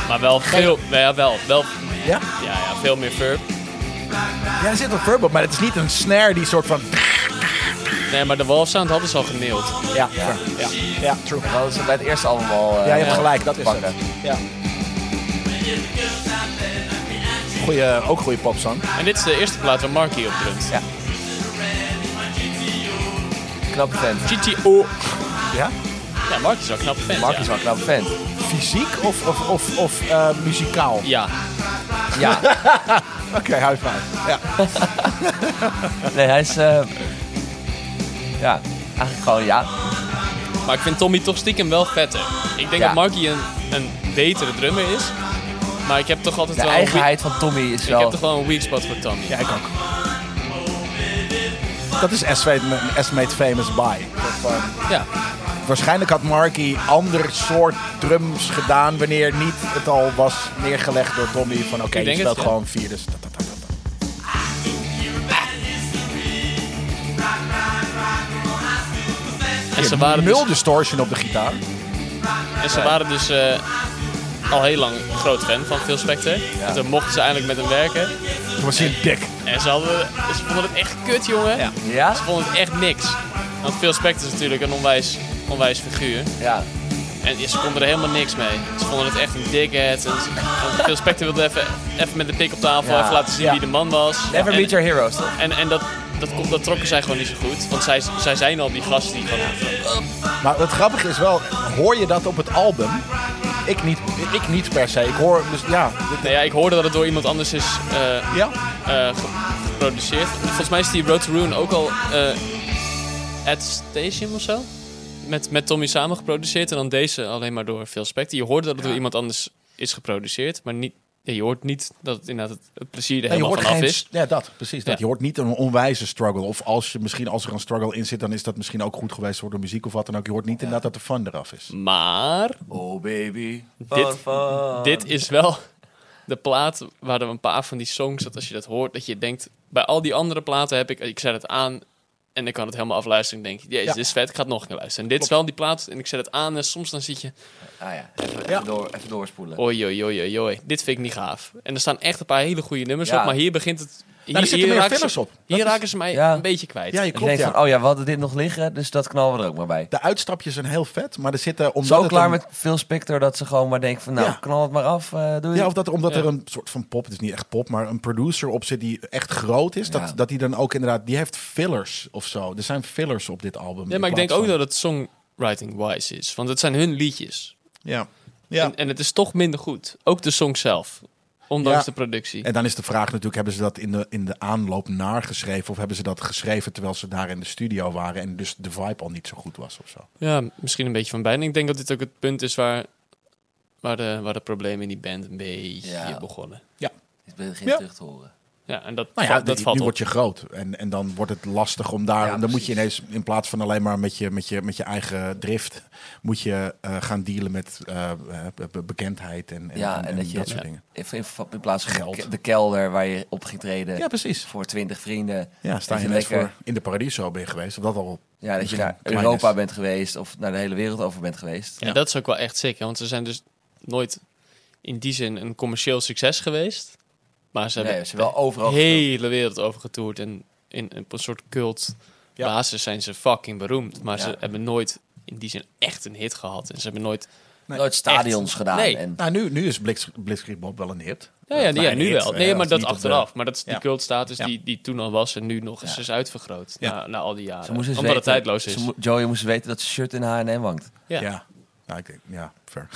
Maar wel veel, nou ja, wel, wel, Ja? ja, ja, veel meer verb. Ja, er zit een verb op, maar het is niet een snare die soort van... Nee, maar de Wall of Sound hadden ze al gemaild. Ja, ja, ja, true. Dat hadden ze bij het eerste album al. eh, Ja, je hebt gelijk, dat is pakken. het. Ja. Goeie, ook goede popsong. En dit is de eerste plaat waar Marky op drumt. Ja. Knappe vent. GTO. Ja? Ja, Marky is wel een knappe vent, Mark ja. is wel een knappe vent. Fysiek of, of, of, of eh, muzikaal? Ja, Ja. [laughs] Oké, high five. Ja. Nee, hij is... eh, ja, eigenlijk gewoon ja. maar ik vind Tommy toch stiekem wel vetter. Ik denk Ja. dat Marky een, een betere drummer is. Maar ik heb toch altijd De wel een weak, eigenheid van Tommy is ik heb wel... toch wel een weak spot voor Tommy. Ja, ik ook. Dat is S-Made Famous By. eh, Ja. Waarschijnlijk had Marky ander soort drums gedaan wanneer niet het al was neergelegd door Tommy. Van oké, Ik je denk speelt het, ja. gewoon vier. Dus dat, dat, dat, dat. En ze waren dus, Nul distortion op de gitaar. en ze waren dus eh, al heel lang groot fan van Phil Spector. En toen mochten ze eindelijk met hem werken. Toen was hij dik. En ze, hadden, ze vonden het echt kut, jongen. Ja? Ze vonden het echt niks. Want Phil Spector is natuurlijk een onwijs, onwijs figuur. Ja. En ze konden er helemaal niks mee. Ze vonden het echt een dickhead. En ze- want Phil Spector wilde even, even met de pik op tafel Ja. even laten zien Ja. wie de man was. Never en, meet your heroes, toch? En, en dat, dat, kon- dat trokken zij gewoon niet zo goed. Want zij, zij zijn al die gasten die gewoon... Maar het grappige is wel, hoor je dat op het album? Ik niet, ik niet per se. Ik hoor, dus ja. dit- Nou ja, ik hoorde dat het door iemand anders is eh, ja. eh, ge- geproduceerd. Volgens mij is die Road to Ruin ook al eh at Station of zo. Met, met Tommy samen geproduceerd. En dan deze alleen maar door Phil Spector. Je hoorde dat het door iemand anders is geproduceerd. Maar niet, ja, je hoort niet dat het inderdaad het, het plezier er Nee, je helemaal hoort vanaf geen, is. Ja, dat, precies. Dat. Ja. Je hoort niet een onwijze struggle. Of als, je, misschien, als er een struggle in zit, dan is dat misschien ook goed geweest voor de muziek of wat dan ook. Je hoort niet inderdaad dat de fun eraf is. Maar Oh, baby. Dit- dit is wel de plaat waar er een paar van die songs dat als je dat hoort, dat je denkt. Bij al die andere platen heb ik, ik zet het aan en ik kan het helemaal afluisteren. En denk je, jezus, Ja. dit is vet, ik ga het nog een keer luisteren. En dit is wel die plaat en ik zet het aan en soms dan zit je, Ah ja, even, even Ja. Door, even doorspoelen. oi, oi, oi, oi, oi, dit vind ik niet gaaf. En er staan echt een paar hele goede nummers Ja. op, maar hier begint het. Hier, er zitten meer raken fillers ze, op. Dat Hier is- raken ze mij Ja. een beetje kwijt. Ja, je Ik klopt, denk ja. van, oh ja, we hadden dit nog liggen, dus dat knallen we er ook maar bij. De uitstapjes zijn heel vet, maar er zitten... Omdat Zo het klaar een- met Phil Spector dat ze gewoon maar denken van, nou, Ja. knal het maar af, eh doei. Ja, of dat er, omdat Ja. er een soort van pop, het is niet echt pop, maar een producer op zit die echt groot is. Ja. Dat, dat die dan ook inderdaad, die heeft fillers of zo. Er zijn fillers op dit album. Ja, maar ik denk ook dat het songwriting-wise is, want het zijn hun liedjes. Ja. Ja. En, en het is toch minder goed. Ook de song zelf, ondanks Ja. de productie. En dan is de vraag natuurlijk, hebben ze dat in de, in de aanloop naar geschreven? Of hebben ze dat geschreven terwijl ze daar in de studio waren en dus de vibe al niet zo goed was of zo? Nou Ja, misschien een beetje van beide. Ik denk dat dit ook het punt is waar, waar, de, waar de problemen in die band een beetje Ja. begonnen. Het begint Ja. terug te horen. Ja, en dat, Nou ja, valt- dat dat nu valt op. word je groot. En, en dan wordt het lastig om daar. Ja, en dan moet je precies. ineens, in plaats van alleen maar met je, met je, met je eigen drift, moet je eh, gaan dealen met eh, eh, be- bekendheid en, en, Ja, en- en en dat je- soort ja. dingen. In, in, in plaats van Geld. ke- de kelder waar je op ging treden Ja, precies. voor twintig vrienden. Eh, Ja, sta Dat je je ineens lekker- voor in de Paradiso ben je geweest. Of dat al. Ja, dat je misschien naar klein is. Europa bent geweest of naar de hele wereld over bent geweest. En Ja. dat is ook wel echt sick, hè, want ze zijn dus nooit in die zin een commercieel succes geweest. Maar ze Nee, hebben ze wel overal de hele wereld over getoerd en in een soort cult Ja. basis zijn ze fucking beroemd. Maar Ja. ze hebben nooit in die zin echt een hit gehad. En ze hebben nooit... Nee, nooit stadions echt. gedaan. Nee. En, Nou, nu, nu is Blitz- Blitzkrieg Bob wel een hit. Ja, ja, die- ja Kleine nu hit, wel. hè, Nee, maar is dat niet op de- achteraf. Maar dat is die Ja. cultstatus Ja. die, die toen al was en nu nog eens Ja. is uitvergroot. Ja. Na, na al die jaren. ze moest Omdat eens het weten- tijdloos is. ze mo- Joey moest weten dat zijn shirt in H&M hangt. Ja. Ja. ja. ik denk, ja, ver.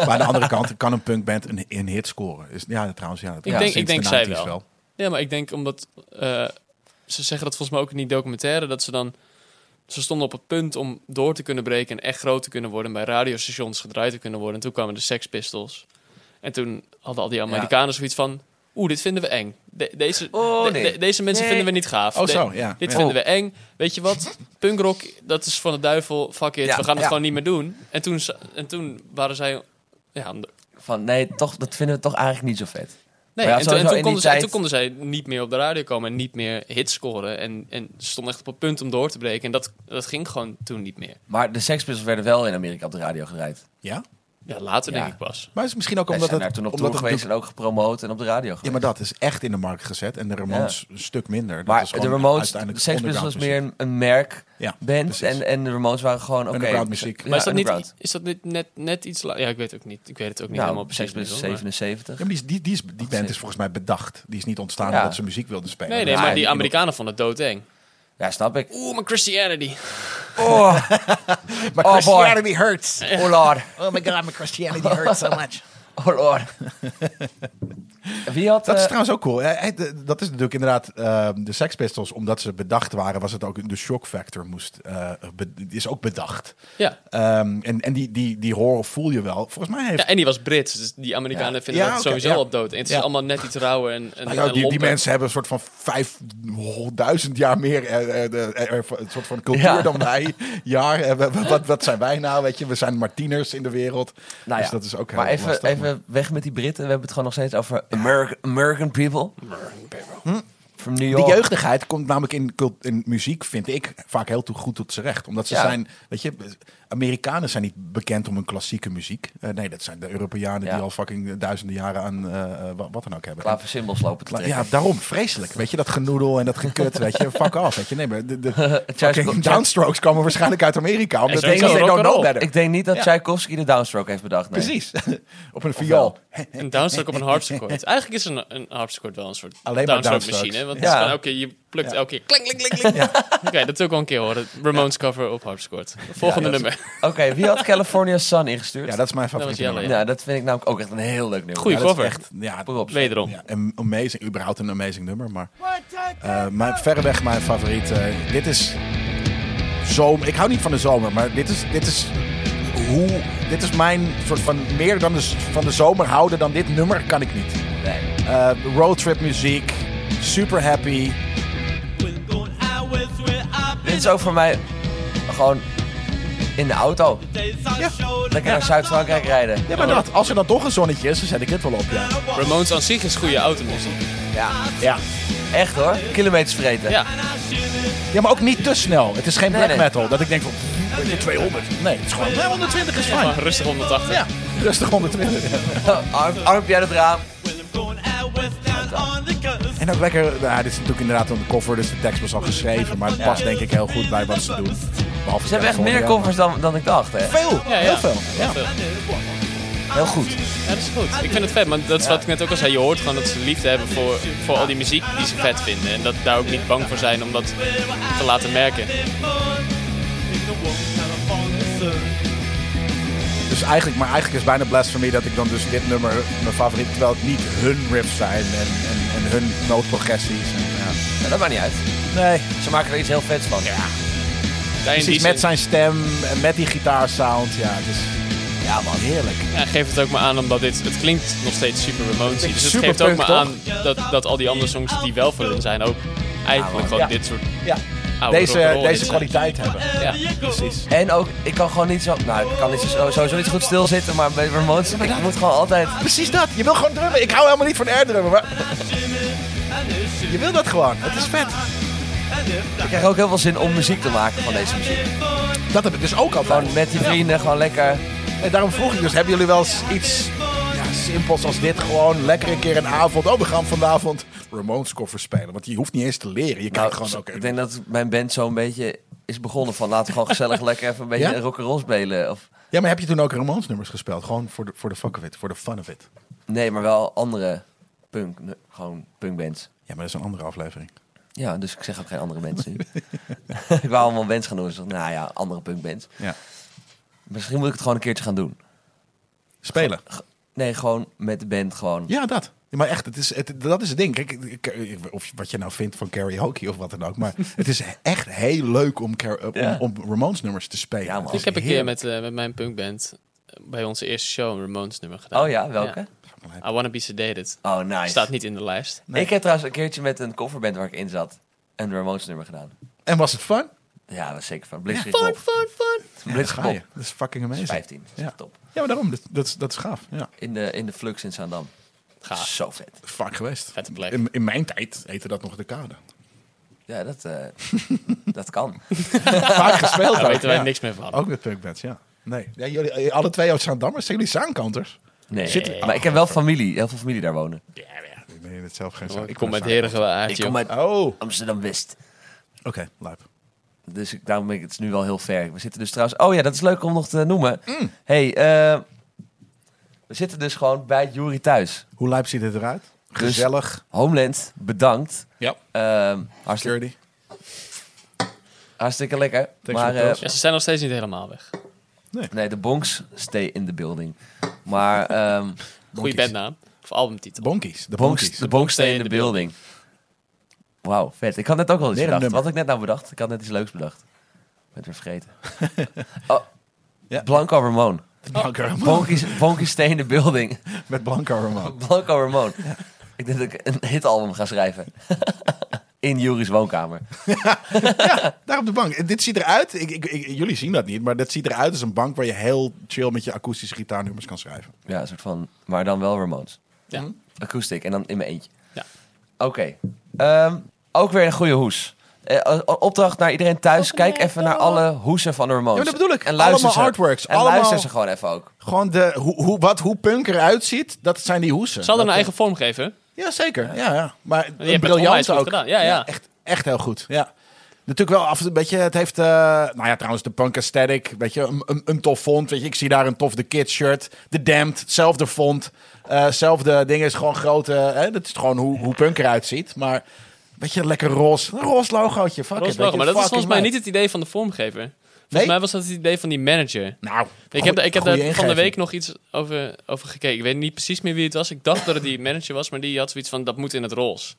[laughs] maar aan de andere kant kan een punkband een, een hit scoren. Is, ja, trouwens, ja. denk- ik denk zij wel. Ja, maar ik denk omdat... eh, ze zeggen dat volgens mij ook in die documentaire... dat ze dan... Ze stonden op het punt om door te kunnen breken... en echt groot te kunnen worden... en bij radiostations gedraaid te kunnen worden. En toen kwamen de Sex Pistols. En toen hadden al die Amerikanen zoiets van... Oeh, dit vinden we eng. De- deze, Oh, de- nee. de- deze mensen Nee. vinden we niet gaaf. Oh, De- zo, ja. Dit Ja. vinden we eng. Weet je wat? Punkrock, dat is van de duivel. Fuck it, Ja, we gaan het ja. gewoon niet meer doen. En toen, za- en toen waren zij... Ja, om de- Van nee, toch, dat vinden we toch eigenlijk niet zo vet. Nee, Maar ja, en, toen, en, sowieso toen in die konden zij, tijd- toen konden zij niet meer op de radio komen en niet meer hits scoren. En, en ze stonden echt op het punt om door te breken. En dat, dat ging gewoon toen niet meer. Maar de Sex Pistols werden wel in Amerika op de radio gedraaid. Ja? Ja, later Ja. denk ik pas. Maar het is misschien ook Wij omdat zijn het... daar toen op omdat tour het geweest en ook gepromoot en op de radio Ja, geweest. maar dat is echt in de markt gezet. En de Ramones een stuk minder. Dat Maar is de gewoon Ramones, uiteindelijk Sex Pistols was meer underground een, een merk muziek. Ja, band precies. en, en de Ramones waren gewoon oké. Underground muziek. Ja, Maar maar is dat, niet, underground. is dat niet net, net iets later? Ja, ik weet, ook niet, ik weet het ook niet helemaal Nou, precies. Sex Pistols meer, hoor, maar- 77. Ja, maar die, is- die, die, is, die band is volgens mij bedacht. Die is niet ontstaan Ja. omdat ze muziek wilden spelen. Nee, nee, Dus maar eigenlijk die iemand- Amerikanen vonden het doodeng. Ja, snap ik. Oeh, mijn Christianity. Oh, Oh, [laughs] Maar boy. Christianity hurts. oh lord. Oh my god, my Christianity hurts so much. Oh lord. Wie had... [laughs] Dat is eh, trouwens ook cool. Eh, eh, de- Dat is natuurlijk inderdaad eh, de Sex Pistols. Omdat ze bedacht waren, was het ook de shock factor moest. eh, be- is ook bedacht. Ja. Ehm, en en die, die, die horror voel je wel. Volgens mij heeft ja, en die was Brits. Dus die Amerikanen Ja. vinden Ja, dat oké, sowieso ja. op dood. En het Ja. is allemaal net iets rauwer en, en, Nou ja, en die, die lomper. mensen hebben een soort van 5000 jaar meer eh, eh, de- eh, eh, een soort van cultuur Ja. dan wij. Jaar, Eh, we- we- wat, wat zijn wij nou? Weet je, we zijn maar tieners in de wereld. Nou Dus ja, dat is ook heel maar even, lastig, maar- even weg met die Britten. We hebben het gewoon nog steeds over American, American people. Hm? From New York. Die jeugdigheid komt namelijk in, cult- in muziek, vind ik, vaak heel toe- goed tot z'n recht. Omdat ze Ja. zijn, weet je, Amerikanen zijn niet bekend om hun klassieke muziek. Eh, nee, dat zijn de Europeanen Ja. die al fucking duizenden jaren aan eh, eh, wa- wat dan ook hebben. Klaar voor symbols lopen te Kla- trekken. Ja, daarom vreselijk. Weet je, dat genoedel en dat gekut, weet je, fuck off. Weet je, nee, maar de, [laughs] de fucking downstrokes komen waarschijnlijk uit Amerika. Omdat sowieso, they don't rock and know roll. better. Ik denk niet dat Ja. Tchaikovsky de downstroke heeft bedacht. Nee. Precies. [laughs] Op een viool. Een downstroke op een [laughs] harpsichord. Eigenlijk is een, een harpsichord wel een soort Alleen maar downstroke downstrokes. machine. Want Ja. het is gewoon, oké, je plukt elke keer kling, kling, [laughs] kling, kling. Oké, dat wil ik wel een keer horen. Ramones cover op harpsichord. Volgende Ja, dat is- nummer. Oké, wie [laughs] had California Sun ingestuurd? Ja, dat is mijn favoriete Jelle, nummer. ja. Nou, dat vind ik namelijk ook echt een heel leuk nummer. Goeie Ja, dat is cover. echt, ja, [laughs] Props. Wederom. ja, een amazing, überhaupt een amazing nummer, maar eh, mijn, verreweg mijn favoriet. eh, dit is zomer. Ik hou niet van de zomer, maar dit is, dit is hoe, dit is mijn soort van meer dan de, z- van de zomer houden dan dit nummer kan ik niet. Nee. Eh, roadtrip muziek, super happy. Dit is ook voor mij gewoon in de auto. Lekker naar Zuid-Frankrijk rijden. Ja, maar dat, als er dan toch een zonnetje is, dan zet ik dit wel op. Ja, Ramones aan zich is goede automuziek. Ja, ja. echt hoor. Kilometers vreten. Ja. ja maar ook niet te snel. Het is geen Nee, black nee. metal dat ik denk van pff, weet je, 200. Nee, het is gewoon nee, 120 is fijn. Maar rustig 180. Ah, Ja, rustig [laughs] 120. [laughs] Arm, armpje uit het raam. En ook lekker, nou, dit is natuurlijk inderdaad een cover, dus de tekst was al geschreven, maar het past denk ik heel goed bij wat ze doen. Behalve Ze hebben echt meer California, covers dan, dan ik dacht. Hè. maar Veel, Ja, ja. heel veel. Ja. Veel. Heel goed. Ja, dat is goed. Ik vind het vet, maar dat is wat ik net ook al zei. Je hoort gewoon dat ze liefde hebben voor, voor al die muziek die ze vet vinden. En dat daar ook niet bang voor zijn om dat te laten merken. Dus eigenlijk, maar eigenlijk is bijna blasphemy dat ik dan dus dit nummer mijn favoriet, terwijl het niet hun riffs zijn en, en, en hun noodprogressies. En, ja. Ja, dat maakt niet uit. Nee, Ze maken er iets heel vets van. Ja, Daarin die precies zin- met zijn stem, en met die gitaarsound, ja, het is man. heerlijk. Ja, geef het ook maar aan omdat dit... Het klinkt nog steeds super Ramones. Dus het super geeft ook punk, maar toch? aan dat, dat al die andere songs die wel voor hun zijn ook eigenlijk gewoon Ja. dit soort Ja, oude deze, rock'n'roll deze is. eh, kwaliteit hebben. Ja. Precies. En ook, ik kan gewoon niet zo... Nou, ik kan niet zo, sowieso niet goed stilzitten, maar bij Ramones... ik moet gewoon altijd... Precies dat. Je wil gewoon drummen. Ik hou helemaal niet van airdrummen, maar [laughs] je wil dat gewoon. Het is vet. Ik krijg ook heel veel zin om muziek te maken van deze muziek. Dat heb ik dus ook altijd. Gewoon met je vrienden, gewoon lekker... En daarom vroeg ik dus, hebben jullie wel eens iets ja, simpels als dit? Gewoon lekker een keer een avond. Oh, we gaan vanavond Ramones cover spelen. Want je hoeft niet eens te leren. Je kijkt Nou, gewoon, oké. Ik denk dat mijn band zo'n beetje is begonnen van... laten we gewoon [laughs] gezellig lekker even een beetje Ja? rock rock'n'roll spelen. Of, Ja, maar heb je toen ook Ramones nummers gespeeld? Gewoon voor de, voor de fuck of it, voor de fun of it. nee, maar wel andere punk, ne- gewoon punkbands. Ja, maar dat is een andere aflevering. Ja, dus ik zeg ook geen andere mensen nu. [laughs] ik wou allemaal bands gaan doen. Dus ik dacht, nou ja, andere punkbands. Ja. Misschien moet ik het gewoon een keertje gaan doen. Spelen. Nee, gewoon met de band gewoon. Ja, dat. Ja, maar echt, het is, het, dat is het ding. Kijk, ik- ik- of wat je nou vindt van karaoke of wat dan [laughs] ook. Maar het is echt heel leuk om, kara- om, Ja. om Ramones nummers te spelen. Ja, man. Het is Ik heb een keer heerlijk. met, eh, met mijn punkband eh, bij onze eerste show een Ramones nummer gedaan. Oh ja, welke? I Wanna Be Sedated. Oh, nice. Staat niet in de lijst. Ik heb trouwens een keertje met een coverband waar ik in zat... een Ramones nummer gedaan. En was het fun? Ja, dat is zeker van. Blitzkrieg Fun, Bob. fun, fun. [laughs] Blitzkrieg ga je. Bob. Dat is fucking amazing. 15. Dat is Ja. echt top. Ja, maar daarom, dat, dat, is- dat is gaaf. Ja. In de, in de flux in Zaandam. Gaaf. Zo vet. Vaak geweest. Vette plek. In, in mijn tijd heette dat nog de kade. Ja, dat, eh, dat kan. [laughs] Vaak gespeeld. Daar ook, weten wij ja. niks meer van. Ook met punkbeds, ja. Nee. Ja, jullie, eh, alle twee uit Zaandammers, zijn jullie Zaankanters? Nee. Zit- maar ik heb wel familie. Heel veel familie daar wonen. Ja, ja. Ik ben het zelf geen Oh, Zaan- ik kom ben met Zaan- Heerige Ik uit, kom joh. uit Oh, oké, Amsterdam-West. lijp. Dus ik, daarom ben ik, het is nu wel heel ver. We zitten dus trouwens... Oh ja, dat is leuk om nog te noemen. Mm. hey, eh, we zitten dus gewoon bij Jury thuis. Hoe lijp ziet het eruit? Dus- Gezellig. Homeland, bedankt. Ja. Ehm, hartstikke, Security. hartstikke lekker. Thanks maar for the eh, pills. Ja, ze zijn nog steeds niet helemaal weg. nee, de bonks stay in the building. Maar [laughs] ehm, Goeie Bonkies. bandnaam. Of De albumtitel. bonkies. De bonks, bonkies. de bonks stay in the building. Wauw, vet. Ik had net ook al iets Weer een bedacht. Wat nummer. had ik net nou bedacht? Ik had net iets leuks bedacht. Ik ben het weer [laughs] vergeten. oh, Ja. Blanco [laughs] Ramon. Blanco Ramon. Bonkies, bonkies stay in the building. Oh. Met Blanco Ramon. Blanco Ramon. Ik denk dat ik een hitalbum ga schrijven. [laughs] in Juris woonkamer. Daar op de bank. Dit ziet eruit, ik, ik, ik- jullie zien dat niet, maar dat ziet eruit als een bank waar je heel chill met je akoestische gitaarnummers kan schrijven. Ja, een soort van... Maar dan wel Ramones. Mhm. Ja. Acoustic en dan in mijn eentje. Ja. Oké. Ehm, ook weer een goede hoes. Eh, o- o- opdracht naar iedereen thuis. Kijk even naar alle hoesen van de Ramones. Ja, maar dat bedoel ik. En luister Allemaal ze. artworks, En allemaal- luister ze gewoon even ook. Gewoon de, hoe, hoe, wat, hoe punk eruit ziet, dat zijn die hoesen. Ze hadden Dat, een eigen vorm geven. eh, Ja, zeker. Ja, ja. Maar hebt het onwijs briljant goed ook. gedaan. Ja, ja. echt, echt heel goed. Ja. Natuurlijk wel af een beetje, het heeft, eh, nou ja, trouwens de punk aesthetic, weet je, een, een, een tof font, weet je, ik zie daar een tof The Kid shirt, The Damned, zelfde font, eh, zelfde dingen, is gewoon grote, hè, dat is gewoon hoe, hoe punk eruit ziet, maar weet je, lekker roze, een roze logootje, fuck it, Roze weet logo. je, Maar dat is fucking volgens mij meid. niet het idee van de vormgever. Volgens Nee? mij was dat het idee van die manager. Nou, Ik heb, da- ik heb daar van de week. week nog iets over, over gekeken. Ik weet niet precies meer wie het was. Ik dacht dat het die manager was, maar die had zoiets van dat moet in het roze.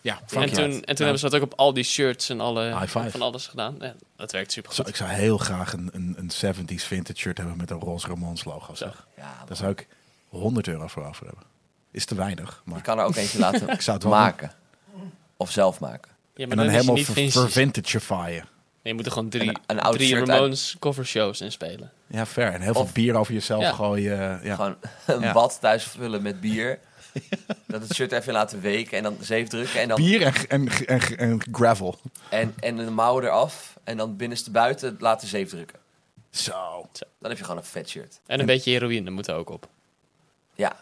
Ja, En toen, en toen hebben ze dat ook op al die shirts en alle, High five. van alles gedaan. Ja, dat werkt super Zo, goed. ik zou heel graag een, een, een 70s vintage shirt hebben met een Rolls Romans logo. Zeg. Ja, Daar zou ik 100 euro voor over hebben. Is te weinig, maar je kan er ook [laughs] eentje laten ik zou het wel doen. maken. Of zelf maken. Ja, maar En dan is je helemaal niet ver- vintage. vervintagefyen. Nee, je moet er gewoon drie, Een- een oud drie shirt Ramones covershows in spelen. Ja, fair. En heel veel Of- bier over jezelf Ja. gooien. Ja. Gewoon een Ja. bad thuis vullen met bier. dat het shirt even laten weken en dan zeefdrukken. En dan Bier en, en, en, en gravel. En, en de mouwen eraf. En dan binnenste buiten laten zeefdrukken. Zo. Oké. Dan heb je gewoon een vet shirt. En een beetje heroïne moet er ook op. Ja,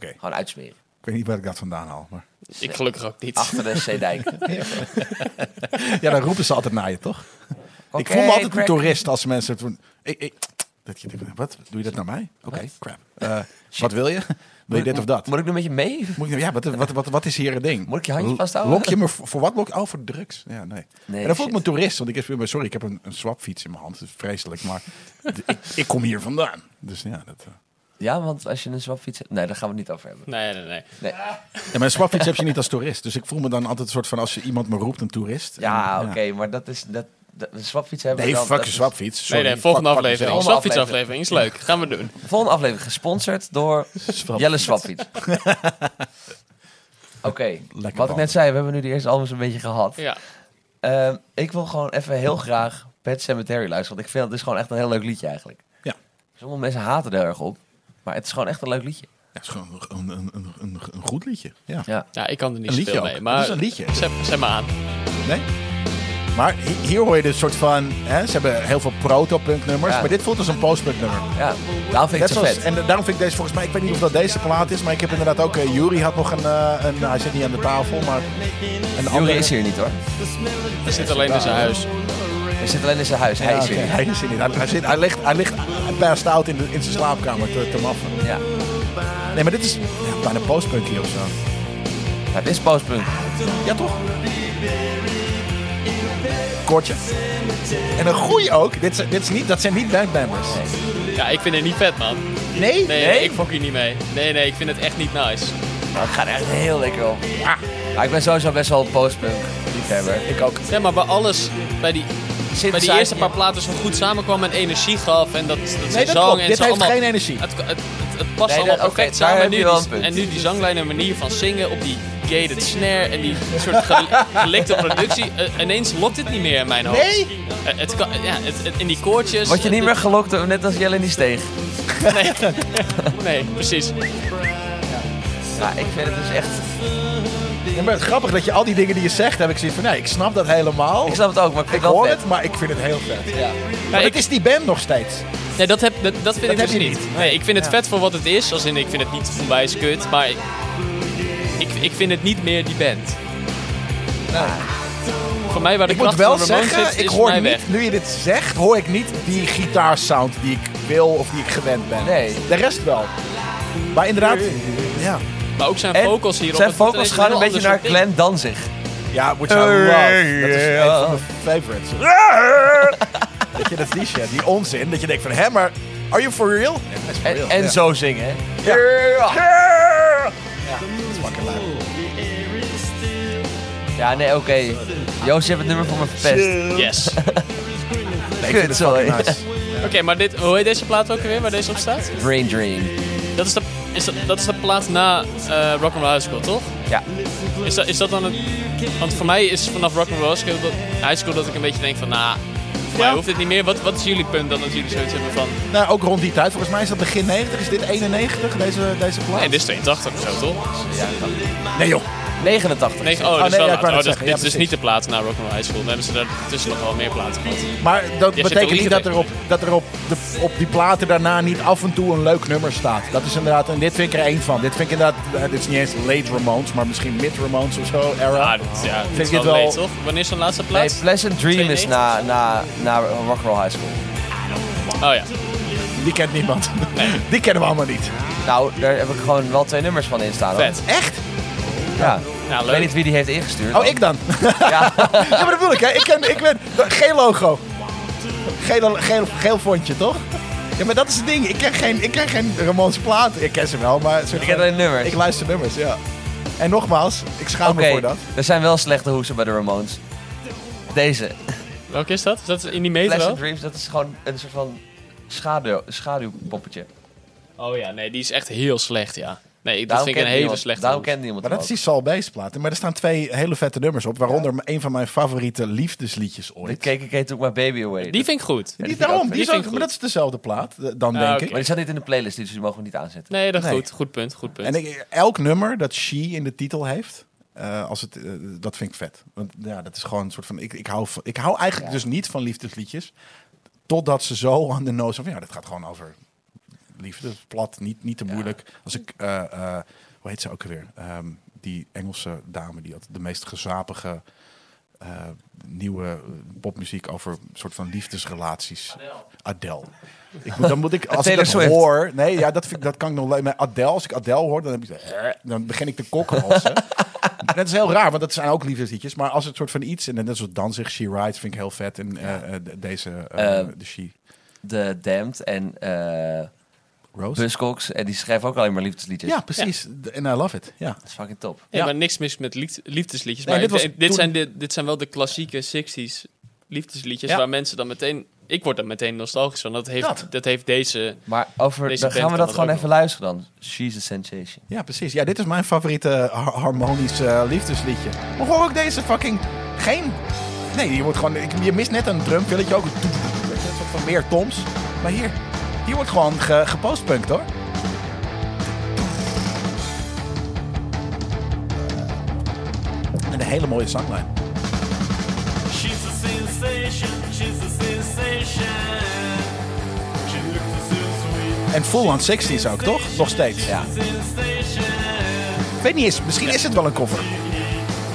gewoon uitsmeren. Ik weet niet waar ik dat vandaan haal. Maar... Ik gelukkig ook niet. Achter de [laughs] zeedijk. Ja, dan roepen ze altijd naar je, toch? ik Oké, voel me altijd crack. een toerist als mensen... Toen, ik, ik, dat je denkt, wat? Doe je dat naar mij? Oké, crap. Eh, wat wil je? Wil je dit of dat? Moet ik nu met je mee? Moet ik, nou- ja, wat, wat, wat, wat is hier een ding? Moet ik je handje L- vasthouden? Lok je me voor, voor wat? Lok, oh, voor drugs. Ja, nee. Nee, en dan voel ik shit. me een toerist, want ik heb, weer- sorry, ik heb een, een swapfiets in mijn hand. Dat is vreselijk, maar d- ik, ik kom hier vandaan. Dus ja, dat... eh. Ja, want als je een swapfiets hebt... Nee, daar gaan we het niet over hebben. [laughs] Nee, nee, nee. Nee. Ja, maar een swapfiets heb je niet als toerist. Dus ik voel me dan altijd een soort van, als je iemand me roept, een toerist. Ja, En, oké, maar dat is... Dat, dat, een swapfiets hebben Nee, we dan... fuck dat een is- swapfiets. Nee, Sorry, nee, volgende Fuck- fuck aflevering. mezelf. Volgende Slapfiets aflevering is leuk. Gaan we [laughs] doen. Volgende aflevering gesponsord door Jelle Swapfiets. oké, wat ik banden. net zei, we hebben nu de eerste albums een beetje gehad. Ja. Ehm, ik wil gewoon even heel graag Pet Cemetery luisteren. Want ik vind dat is gewoon echt een heel leuk liedje eigenlijk. Ja. Sommige mensen haten er erg op. Maar het is gewoon echt een leuk liedje. Ja, het is gewoon een, een, een, een, een goed liedje. Ja. Ja. ja, ik kan er niet Een liedje zoveel ook. mee. Maar Het is een liedje. Zet, zet maar aan. Nee? Maar hi- hier hoor je dus soort van... Hè, ze hebben heel veel proto-punk nummers, Ja. maar dit voelt als een post-punk nummer. ja. Daarom vind ik Net het zo zoals, vet. en daarom vind ik deze volgens mij, ik weet niet of dat deze plaat is, maar ik heb inderdaad ook, eh Jury had nog een, eh, een hij zit niet aan de tafel, maar een Jury andere. is hier niet hoor. Er zit alleen in zijn huis. Hij zit alleen in zijn huis. Hij Ja, is oké, hier niet. hij is hier niet. Hij, hij zit, hij ligt, hij ligt passed out in, de, in zijn slaapkamer te, te maffen. Ja. Nee, maar dit is ja, bijna postpunk hier of zo. Het is postpunk. Ja, toch? Kortje. En een goeie ook. Dit, zijn- dit is niet, dat zijn niet bandmembers. Ja, ik vind het niet vet, man. Nee? Nee, Nee? ik fok hier niet mee. Nee, nee, ik vind het echt niet nice. Maar het gaat echt heel lekker op. Ah. Maar ik ben sowieso best wel postpunk liefhebber. Ik ook. Ja, maar bij alles, bij die, bij die eerste paar platen zo goed samenkwam en energie gaf en dat, dat ze Nee, dat zang klopt. en Dit ze heeft allemaal, geen energie. Het, het, het, het past Nee, allemaal dat- oké, perfect daar samen. heb En nu, je wel die- een punt. en nu die zanglijn en manier van zingen op die gated snare en die soort gel- gelikte productie. eh, ineens lokt het niet meer in mijn hoofd. Nee? Eh, het kan, ja, het, het- in die koortjes. Word je niet eh, meer gelokt, door- net als Jelle in die steeg. Nee, nee precies. Ja, ik vind het dus echt... Ja, maar het is grappig dat je al die dingen die je zegt, heb ik zoiets van, nee, ik snap dat helemaal. Ik snap het ook, maar ik Ik vind het wel hoor vet. het, maar ik vind het heel vet. Ja. Maar Maar ik- het is die band nog steeds. Nee, dat, heb, dat, dat vind ik heb dus je niet. niet. Nee, ik vind het Ja. vet voor wat het is. Als in, ik vind het niet onwijs kut, maar ik, ik, ik vind het niet meer die band. Voor mij waar de Nou. kracht Ik moet wel van Ramones zeggen, zit, ik is voor hoor mij niet, weg. nu je dit zegt, hoor ik niet die gitaarsound die ik wil of die ik gewend ben. Nee. De rest wel. Maar inderdaad, ja. Maar ook zijn En vocals hierop. Zijn het wordt vocals gaan ineens een beetje naar ander soort ding. Glenn Danzig. Ja, which I love. Dat is een yeah. van mijn favorites. [laughs] Weet je, dat is die shit, die onzin. Dat je denkt van, hè, maar are you for real? Ja, hij is for En, real. en Ja. zo zingen, hè. Ja. Ja, dat is fucking leuk. Ja, nee, oké. Joost, je hebt het nummer voor me verpest. Yes. Nee, ik vind Kut, het sorry. fucking nice. Oké, maar dit, hoe heet deze plaat ook weer waar deze op staat? Brain Dream. Dat is de, is dat, dat is de plaat na eh Rock'n'Roll High School, toch? Ja. Is dat, is dat dan het... Want voor mij is vanaf Rock'n'Roll High School, dat, High School dat ik een beetje denk van... Nou, voor mij hoeft dit niet meer. Wat, wat is jullie punt dan dat jullie zoiets hebben van... Nou, ook rond die tijd. Volgens mij is dat begin 90. Is dit 91, deze, deze plaat? Nee, dit is 82 of zo, toch? Nee, joh. 89. Nee, oh, nee, dus wel, ja, ik wou net oh, dus, dit zeggen, ja, is dus precies. niet de plaat na Rock'n'Roll High School. Dan hebben ze daar tussen nog wel meer platen gehad. Maar dat zit te betekent liegen niet dat er, tegen op, dat er op, de, op die platen daarna niet af en toe een leuk nummer staat. Dat is inderdaad, en dit vind ik er één van. Dit vind ik inderdaad, eh, dit is niet eens late Ramones, maar misschien mid Ramones of zo, era. Ah, dit, ja, dit Vind is ik wel dit wel- leed, toch? Wanneer is zijn laatste Nee, plaat? Pleasant Dream is 92. na, na, na Rock'n'Roll High School. Oh ja. Die kent niemand. [laughs] Die kennen we allemaal niet. Nou, daar heb ik gewoon wel twee nummers van in staan. hoor. Vet. Echt? Ja. Ja, Ik weet leuk. niet wie die heeft ingestuurd. Oh, ik dan. Ja. [laughs] ja, maar dat bedoel ik, hè. Ik, ken, ik ben, geen logo. Geel, geel, geel vondje, toch? Ja, maar dat is het ding. Ik ken geen, ik ken geen Ramones platen. Ik ken ze wel, maar... Ik ken alleen nummers. Ik luister nummers, ja. En nogmaals, ik schaam Oké, me voor dat. er zijn wel slechte hoesen bij de Ramones. Deze. Welke is dat? Is dat in die metro? Pleasant Dreams, dat is gewoon een soort van schaduw, schaduwpoppetje. Oh ja, nee, die is echt heel slecht, ja. Nee, dat Daarom vind ik kent een niemand- hele slechte Daarom hoes. kent niemand Maar hem dat is ook. die Sal Bass plaat. Maar er staan twee hele vette nummers op. Waaronder een van mijn favoriete liefdesliedjes De ooit. KKK Took My Baby Away. Die vind ik goed. Die, die daarom, vind ik ook- die die is vind ook- ik goed. maar dat is dezelfde plaat, eh, dan Ah, denk oké. ik. Maar die staat niet in de playlist, dus die mogen we niet aanzetten. Nee, dat is Nee. goed. Goed punt, goed punt. En ik, elk nummer dat She in de titel heeft, eh, als het, eh, dat vind ik vet. Want ja, dat is gewoon een soort van... Ik, ik, hou, van- ik hou eigenlijk dus niet van liefdesliedjes. Totdat ze zo aan de nose van... Ja, dat gaat gewoon over liefde. Plat, niet, niet te moeilijk. Als ik... eh, eh, hoe heet ze ook alweer? Ehm, die Engelse dame, die had de meest gezapige... eh, nieuwe eh, popmuziek over een soort van liefdesrelaties. Adele. Ik moet, dan moet [laughs] ik, als ik Taylor dat Swift. hoor... Nee, ja, dat, vind, ik- dat kan ik nog... le- Maar Adele, als ik Adele hoor, dan, heb ik, zo, "Eh", dan begin ik te [laughs] kokhalzen. En dat is heel raar, want dat zijn ook liefdesliedjes. Maar als het soort van iets... En net zoals Danzig, She Rides, vind ik heel vet. En eh, eh, de- deze, eh, Eh, de She... De Damned en eh Rose? Buzzcocks, en die schrijven ook alleen maar liefdesliedjes. Ja, precies. En I love it. Ja. Dat is fucking top. Ja, Ja. maar niks mis met lied- liefdesliedjes. Nee, maar dit was dit, dit, toen- zijn, dit, dit zijn wel de klassieke 60s liefdesliedjes Ja. waar mensen dan meteen... Ik word dan meteen nostalgisch van. Dat heeft, Dat. dat. heeft deze... Maar over, Deze dan band gaan we kan dat dat gewoon ook even luisteren dan. She's a Sensation. ja, precies. Ja, dit is mijn favoriete har- harmonisch eh, liefdesliedje. Maar hoor ook deze fucking... Geen... Nee, je, wordt gewoon, ik- je mist net een drumfilletje ook. Een soort van meer toms. Maar hier, hier wordt gewoon ge, gepostpunkt, hoor. En een hele mooie zanglijn. She's a sensation, she's a sensation. She looks so sweet, En full on 60s ook, toch? Nog steeds. Ja. sensation. Ik weet niet eens, misschien is het wel een cover.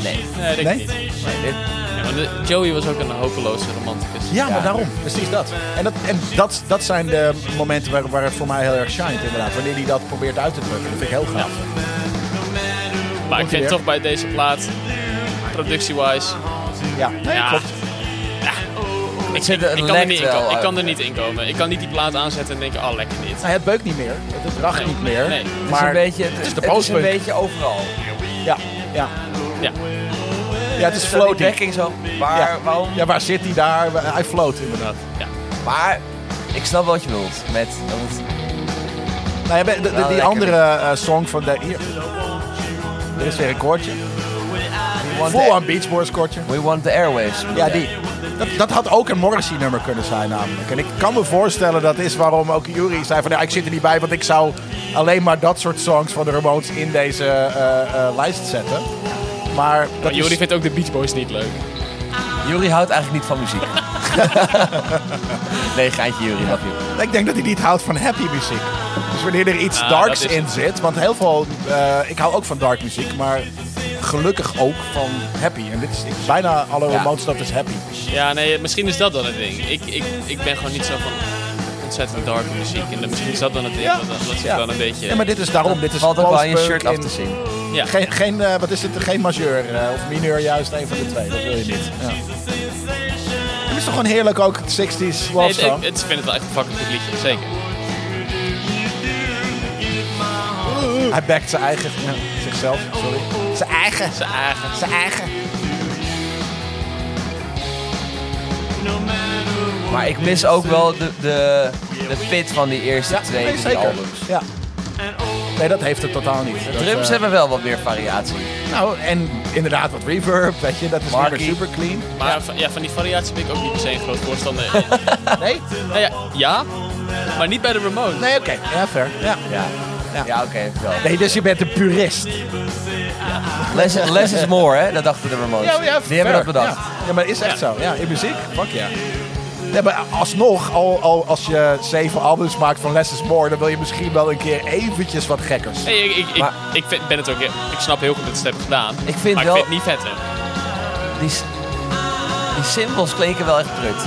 Nee. Nee, denk Nee? ik niet. Dit, Ja, want de- Joey was ook een hopeloze romanticus. Ja, Ja. maar daarom. Precies dat. En, dat, en dat, dat zijn de momenten waar, waar het voor mij heel erg shined, inderdaad. Wanneer hij dat probeert uit te drukken. Dat vind ik heel gaaf. maar ik vind weer. toch bij deze plaat, productie-wise... Ja, nee, Ja. klopt. Ik, zit- ik- ik het kan er lekt niet in wel komen. Ik uit. kan er niet in komen. Ik kan niet die plaat aanzetten en denken, oh, lekker dit. Nou, het beukt niet meer. Het, het racht Nee, niet meer. nee. Het het is Maar een beetje, het, het is de het is een postpunk. beetje overal. Ja, ja. Ja. ja, het is Zo die floating. backing zo. Waar, Ja. Waarom? Ja, waar zit hij daar? Hij float inderdaad. Ja. Maar ik snap wel wat je bedoelt. Met, want Nou, ja, de- de- Wel die lekker. andere eh, song van de... Hier. Er is weer een koortje. We want, Full the, on Beach Boys koortje. we want the airwaves. bedoel Ja, jij? die. Dat, dat had ook een Morrissey-nummer kunnen zijn namelijk. En ik kan me voorstellen, dat is waarom ook Jury zei van... Ja, ik zit er niet bij, want ik zou alleen maar dat soort songs van de Ramones in deze eh, eh, lijst zetten. Maar dat Maar Jori is... vindt ook de Beach Boys niet leuk. Jury houdt eigenlijk niet van muziek. nee, geintje Jury, love you. Ik denk dat hij niet houdt van happy muziek. Dus wanneer er iets Ah, darks dat is- in zit, want heel veel, eh, ik hou ook van dark muziek, maar gelukkig ook van happy. En dit is bijna alle Ja. Ramones dat is happy. Ja, nee, misschien is dat dan het ding. Ik, ik, ik ben gewoon niet zo van ontzettend dark muziek. En dan- misschien is dat dan het ding. Dat, dat zit dan een beetje... Ja, maar dit is daarom. Dit is Valt ook wel aan je Close shirt Burn af in- te zien. ja. Geen, geen eh, wat is het? Geen majeur eh, of mineur, juist een van de twee. Dat wil je niet. Ja. Het is toch gewoon heerlijk ook, het 60s Nee, love het- song. ik, het- ik vind het wel echt een fucking goed liedje, zeker. Hij backt zijn eigen, ja, zichzelf, sorry. Zijn eigen, Zijn eigen. zijn eigen. Maar ik mis ook wel de, de, de pit van die eerste twee nee, drie zeker. albums. Ja. Nee, dat heeft het totaal niet. Dat, Drums eh, hebben wel wat meer variatie. Nou, en inderdaad wat reverb, weet je, dat is Marky. niet meer super clean. Maar van, ja, van die variatie ben ik ook niet per se een groot voorstander. [laughs] Eh, Nee? nou ja, ja, maar niet bij de Ramones. Nee, oké. Ja, fair. Ja. Ja, ja. Ja. oké, wel. Nee, dus je bent een purist. Less, less is more, hè? Dat dachten de Ramones. Die hebben dat bedacht. Ja, ja maar is echt zo. Ja, in muziek, fuck ja. Nee, maar alsnog, al, al als je zeven albums maakt van Less is More, dan wil je misschien wel een keer eventjes wat gekkers. Nee, ik, ik, Maar- ik, ik vind- ben het ook. heel- Ik snap heel goed dat ze het hebben gedaan. Ik vind maar wel- ik vind het niet vetter. Die, s- die symbols klinken wel echt prut.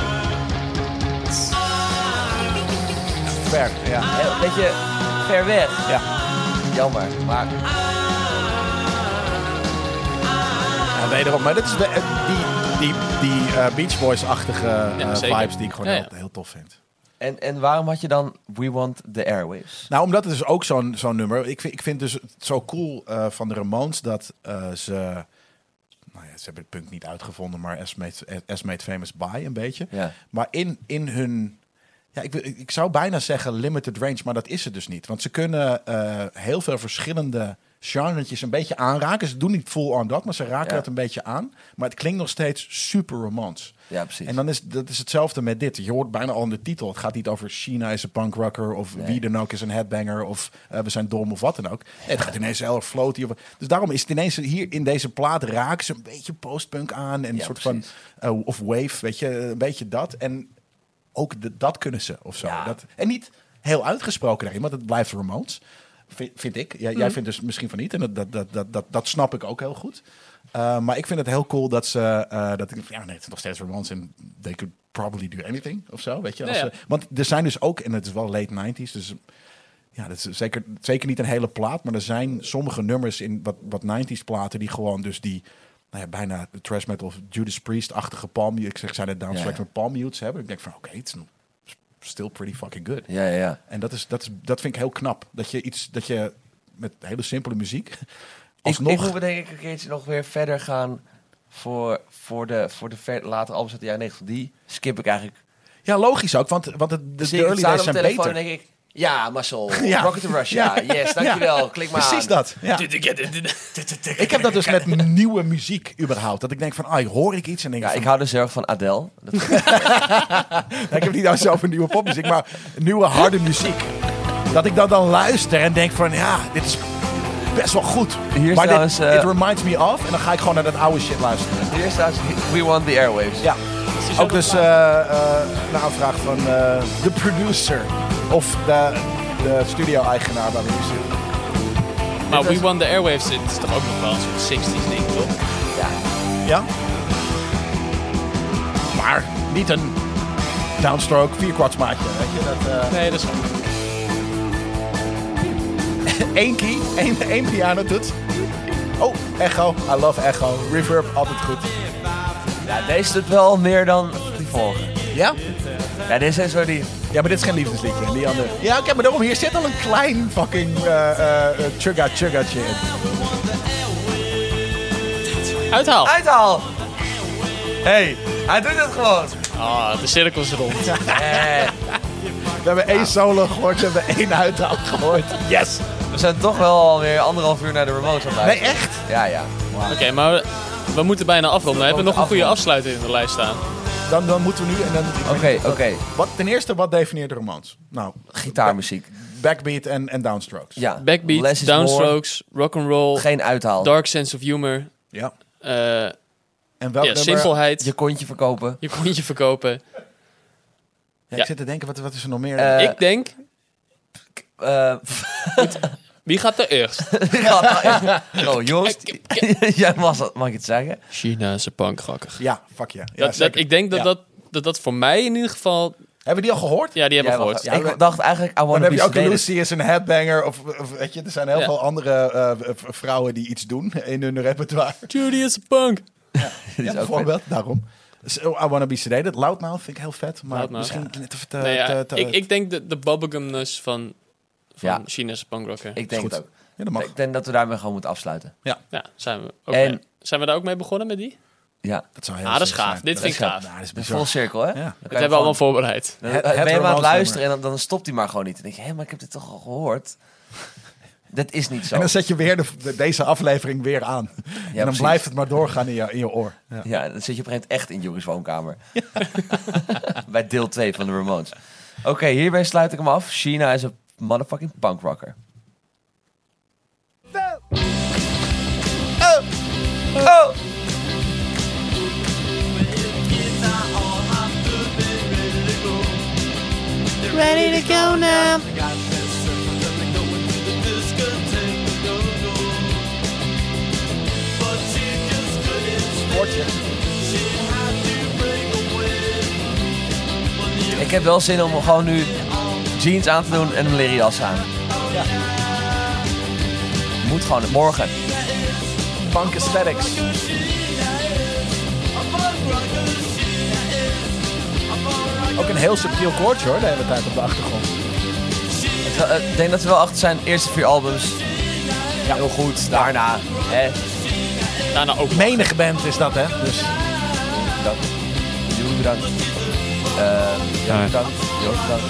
Fair, ja. Een beetje ver weg. Ja. Jammer, maar ja, wederom. Maar dat is de, eh, die, die, die eh, Beach Boys-achtige eh, Ja, zeker. vibes die ik gewoon Ja, heel, ja. heel tof vind. En, en waarom had je dan We Want the Airwaves? Nou, omdat het dus ook zo'n zo'n nummer. Ik vind, ik vind dus het zo cool eh, van de Ramones dat eh, ze. Nou ja, ze hebben het punk niet uitgevonden, maar As Made, As Made Famous By een beetje. Ja. Maar in, in hun. Ja, ik, wil- ik zou bijna zeggen limited range, maar dat is het dus niet. Want ze kunnen eh, heel veel verschillende genretjes een beetje aanraken. Ze doen niet full on dat, maar ze raken Ja. het een beetje aan. Maar het klinkt nog steeds super romans. Ja, precies. En dan is dat is hetzelfde met dit. Je hoort bijna al in de titel. Het gaat niet over China is een punkrocker of wie dan ook is een headbanger of eh, we zijn dom of wat dan ook. Nee, het gaat ineens heel erg floaty. over- Dus daarom is het ineens hier in deze plaat raken ze een beetje postpunk aan en een Ja, soort precies. van eh, of wave, weet je, een beetje dat. En ook de- dat kunnen ze of zo. Ja. Dat, en niet heel uitgesproken daarin, want het blijft Ramones. Vind, vind ik. Jij, jij vindt dus misschien van niet. En dat, dat, dat, dat, dat, dat snap ik ook heel goed. Uh, maar ik vind het heel cool dat ze... eh, dat ik, ja, nee, het is nog steeds Ramones en they could probably do anything of zo, weet je. Als Ja, ja. ze- want er zijn dus ook, en het is wel late 90s, dus... Ja, dat is zeker, zeker niet een hele plaat, maar er zijn sommige nummers in wat, wat 90s platen die gewoon dus die nou ja, bijna trash metal of Judas Priest-achtige palm Ik zeg, zijn het down Ja, track ja. met palm mutes hebben. Ik denk van, oké, het is nog still pretty fucking good. Ja, ja, ja. En dat, is, dat, is, dat vind ik heel knap. Dat je iets, dat je met hele simpele muziek [laughs] alsnog... Ik, ik moet denk ik een keertje nog weer verder gaan voor, voor de, voor de ver, latere albums uit de jaren 90. Die skip ik eigenlijk. ja, logisch ook, want, want het, de, Zie de ik early het staan days op zijn mijn telefoon beter. en denk ik... [laughs] Ja, Marcel. Ja. Rocket to Russia. Ja. Yes, dankjewel. Ja. Klik maar Precies aan. dat. Ja. Ik heb dat dus met [laughs] nieuwe muziek überhaupt. Dat ik denk van, ah, hoor ik iets en denk Ja, van, ik hou dus heel erg van Adele. Dat Ja, ik heb niet nou zelf een nieuwe popmuziek, maar nieuwe harde muziek. Dat ik dat dan luister en denk van ja, dit is best wel goed. Hier is maar dit, trouwens, eh, it reminds me of. En dan ga ik gewoon naar dat oude shit luisteren. Hier staat We Want the Airwaves. Ja. Ook dus eh, eh, een aanvraag van eh, de producer. Of de, de studio-eigenaar waar we nu zitten. Maar We Won the Airwaves het is toch ook nog wel een soort 60s ding, toch? Ja. Ja? Maar niet een downstroke vierkwartsmaatje. Weet je, dat... eh, Nee, dat is wel. Eén key, één, één piano doet. Oh, echo. I love echo. Reverb, altijd goed. ja, deze doet wel meer dan die vorige. Ja? Ja, dit zijn zo die... Ja, maar dit is geen liefdesliedje. En die andere... Ja, oké, maar daarom, hier zit al een klein fucking eh eh chugga chuggatje in. Uithaal! Uithaal! hey, hij doet het gewoon. Ah, de cirkel is rond. Eh. We hebben één solo gehoord, we hebben één uithaal gehoord. Yes! We zijn toch wel alweer anderhalf uur naar de remote aan het Nee, luisteren. echt? Ja, ja. Oké, maar we, we moeten bijna afronden. We hebben nog een goede afsluiter in de lijst staan. Dan, dan moeten we nu... en dan- ik weet Oké, niet wat- oké. Wat, ten eerste, wat definieert de romans? Nou, Gitaarmuziek. backbeat en, en downstrokes. Ja. Less Backbeat, is more. downstrokes, rock'n'roll, Geen uithaal. dark sense of humor, Ja. eh, En welk ja, nummer... simpelheid, Je je, kontje verkopen. kontje verkopen. Ja, Ja. ik zit te denken, wat, wat is er nog meer? Eh, Ik denk, Eh, wie gaat er eerst? [laughs] ja, oh, Joost. [laughs] Jij mag, dat- mag ik het zeggen? China is een punkgrakker. ja, fuck ja. ja Dat, dat, zeker. ik denk dat, Ja. dat, dat dat voor mij in ieder geval... Hebben we die al gehoord? Ja, die hebben Jij we mag- gehoord. ja. ik dacht eigenlijk, I Dan want to heb be je ook sedated. Lucy is een headbanger. Of, of weet je, er zijn heel Ja. veel andere eh, v- vrouwen die iets doen in hun [laughs] repertoire. Judy is een punk. Dit Ja, is ook bijvoorbeeld, daarom. So, I Wanna Be Sedated. Loudmouth vind ik heel vet, maar Loudmouth. misschien net even te... Nee, Nou ja, Eh, te- te- ik, ik denk de, de bubblegumness van, van Ja. China is een punkrocker. Ik denk Goed. het ook. Ja, dat mag. Ik denk dat we daarmee gewoon moeten afsluiten. Ja, zijn we, ook En- mee- zijn we daar ook mee begonnen met die? Ja, Dat zou heel Ah, dat is sick gaaf. zijn. Dit Dat vind is ik gaaf. Ja, dat is de bizar. full cirkel, hè? Ja. Dan kan Dat hebben we allemaal gewoon- voorbereid. dan [laughs] Het- ben je maar het aan het romansnummer. luisteren en dan, dan stopt hij maar gewoon niet. En dan denk je, hé, maar ik heb dit toch al gehoord? [laughs] Dat is niet zo. En dan zet je weer de- de- deze aflevering weer aan. en dan precies. blijft het maar doorgaan in je, in je oor. Ja. Ja, dan zit je op een gegeven moment echt in Joris woonkamer. [laughs] Bij deel 2 van de Ramones. Oké, hierbij sluit ik hem af. China is een motherfucking punkrocker. Ready to go now. Ik heb wel zin om gewoon nu jeans aan te doen en een leren jas aan. Moet gewoon morgen. Punk aesthetics. Ook een heel subtiel koortje hoor, de hele tijd op de achtergrond. Ik eh, ik denk dat we wel achter zijn. Eerste vier albums. Heel goed. Daarna. Hè, Daarna ook. Menige band is dat hè. Dus bedankt. Jeroen bedankt. Eh Jan Ja. bedankt. Joost bedankt.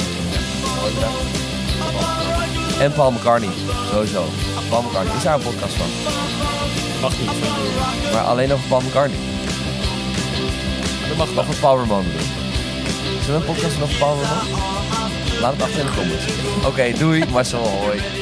Roy bedankt. En Paul McCartney. Sowieso. Paul McCartney. Is daar een podcast van? Mag niet. Maar alleen over Paul McCartney. Dat mag wel. Of over Paul Ramon bedoel ik. Zullen we een podcast doen over Paul Ramon? Laat het achter in de comments. Oké, doei. Marcel, hoi.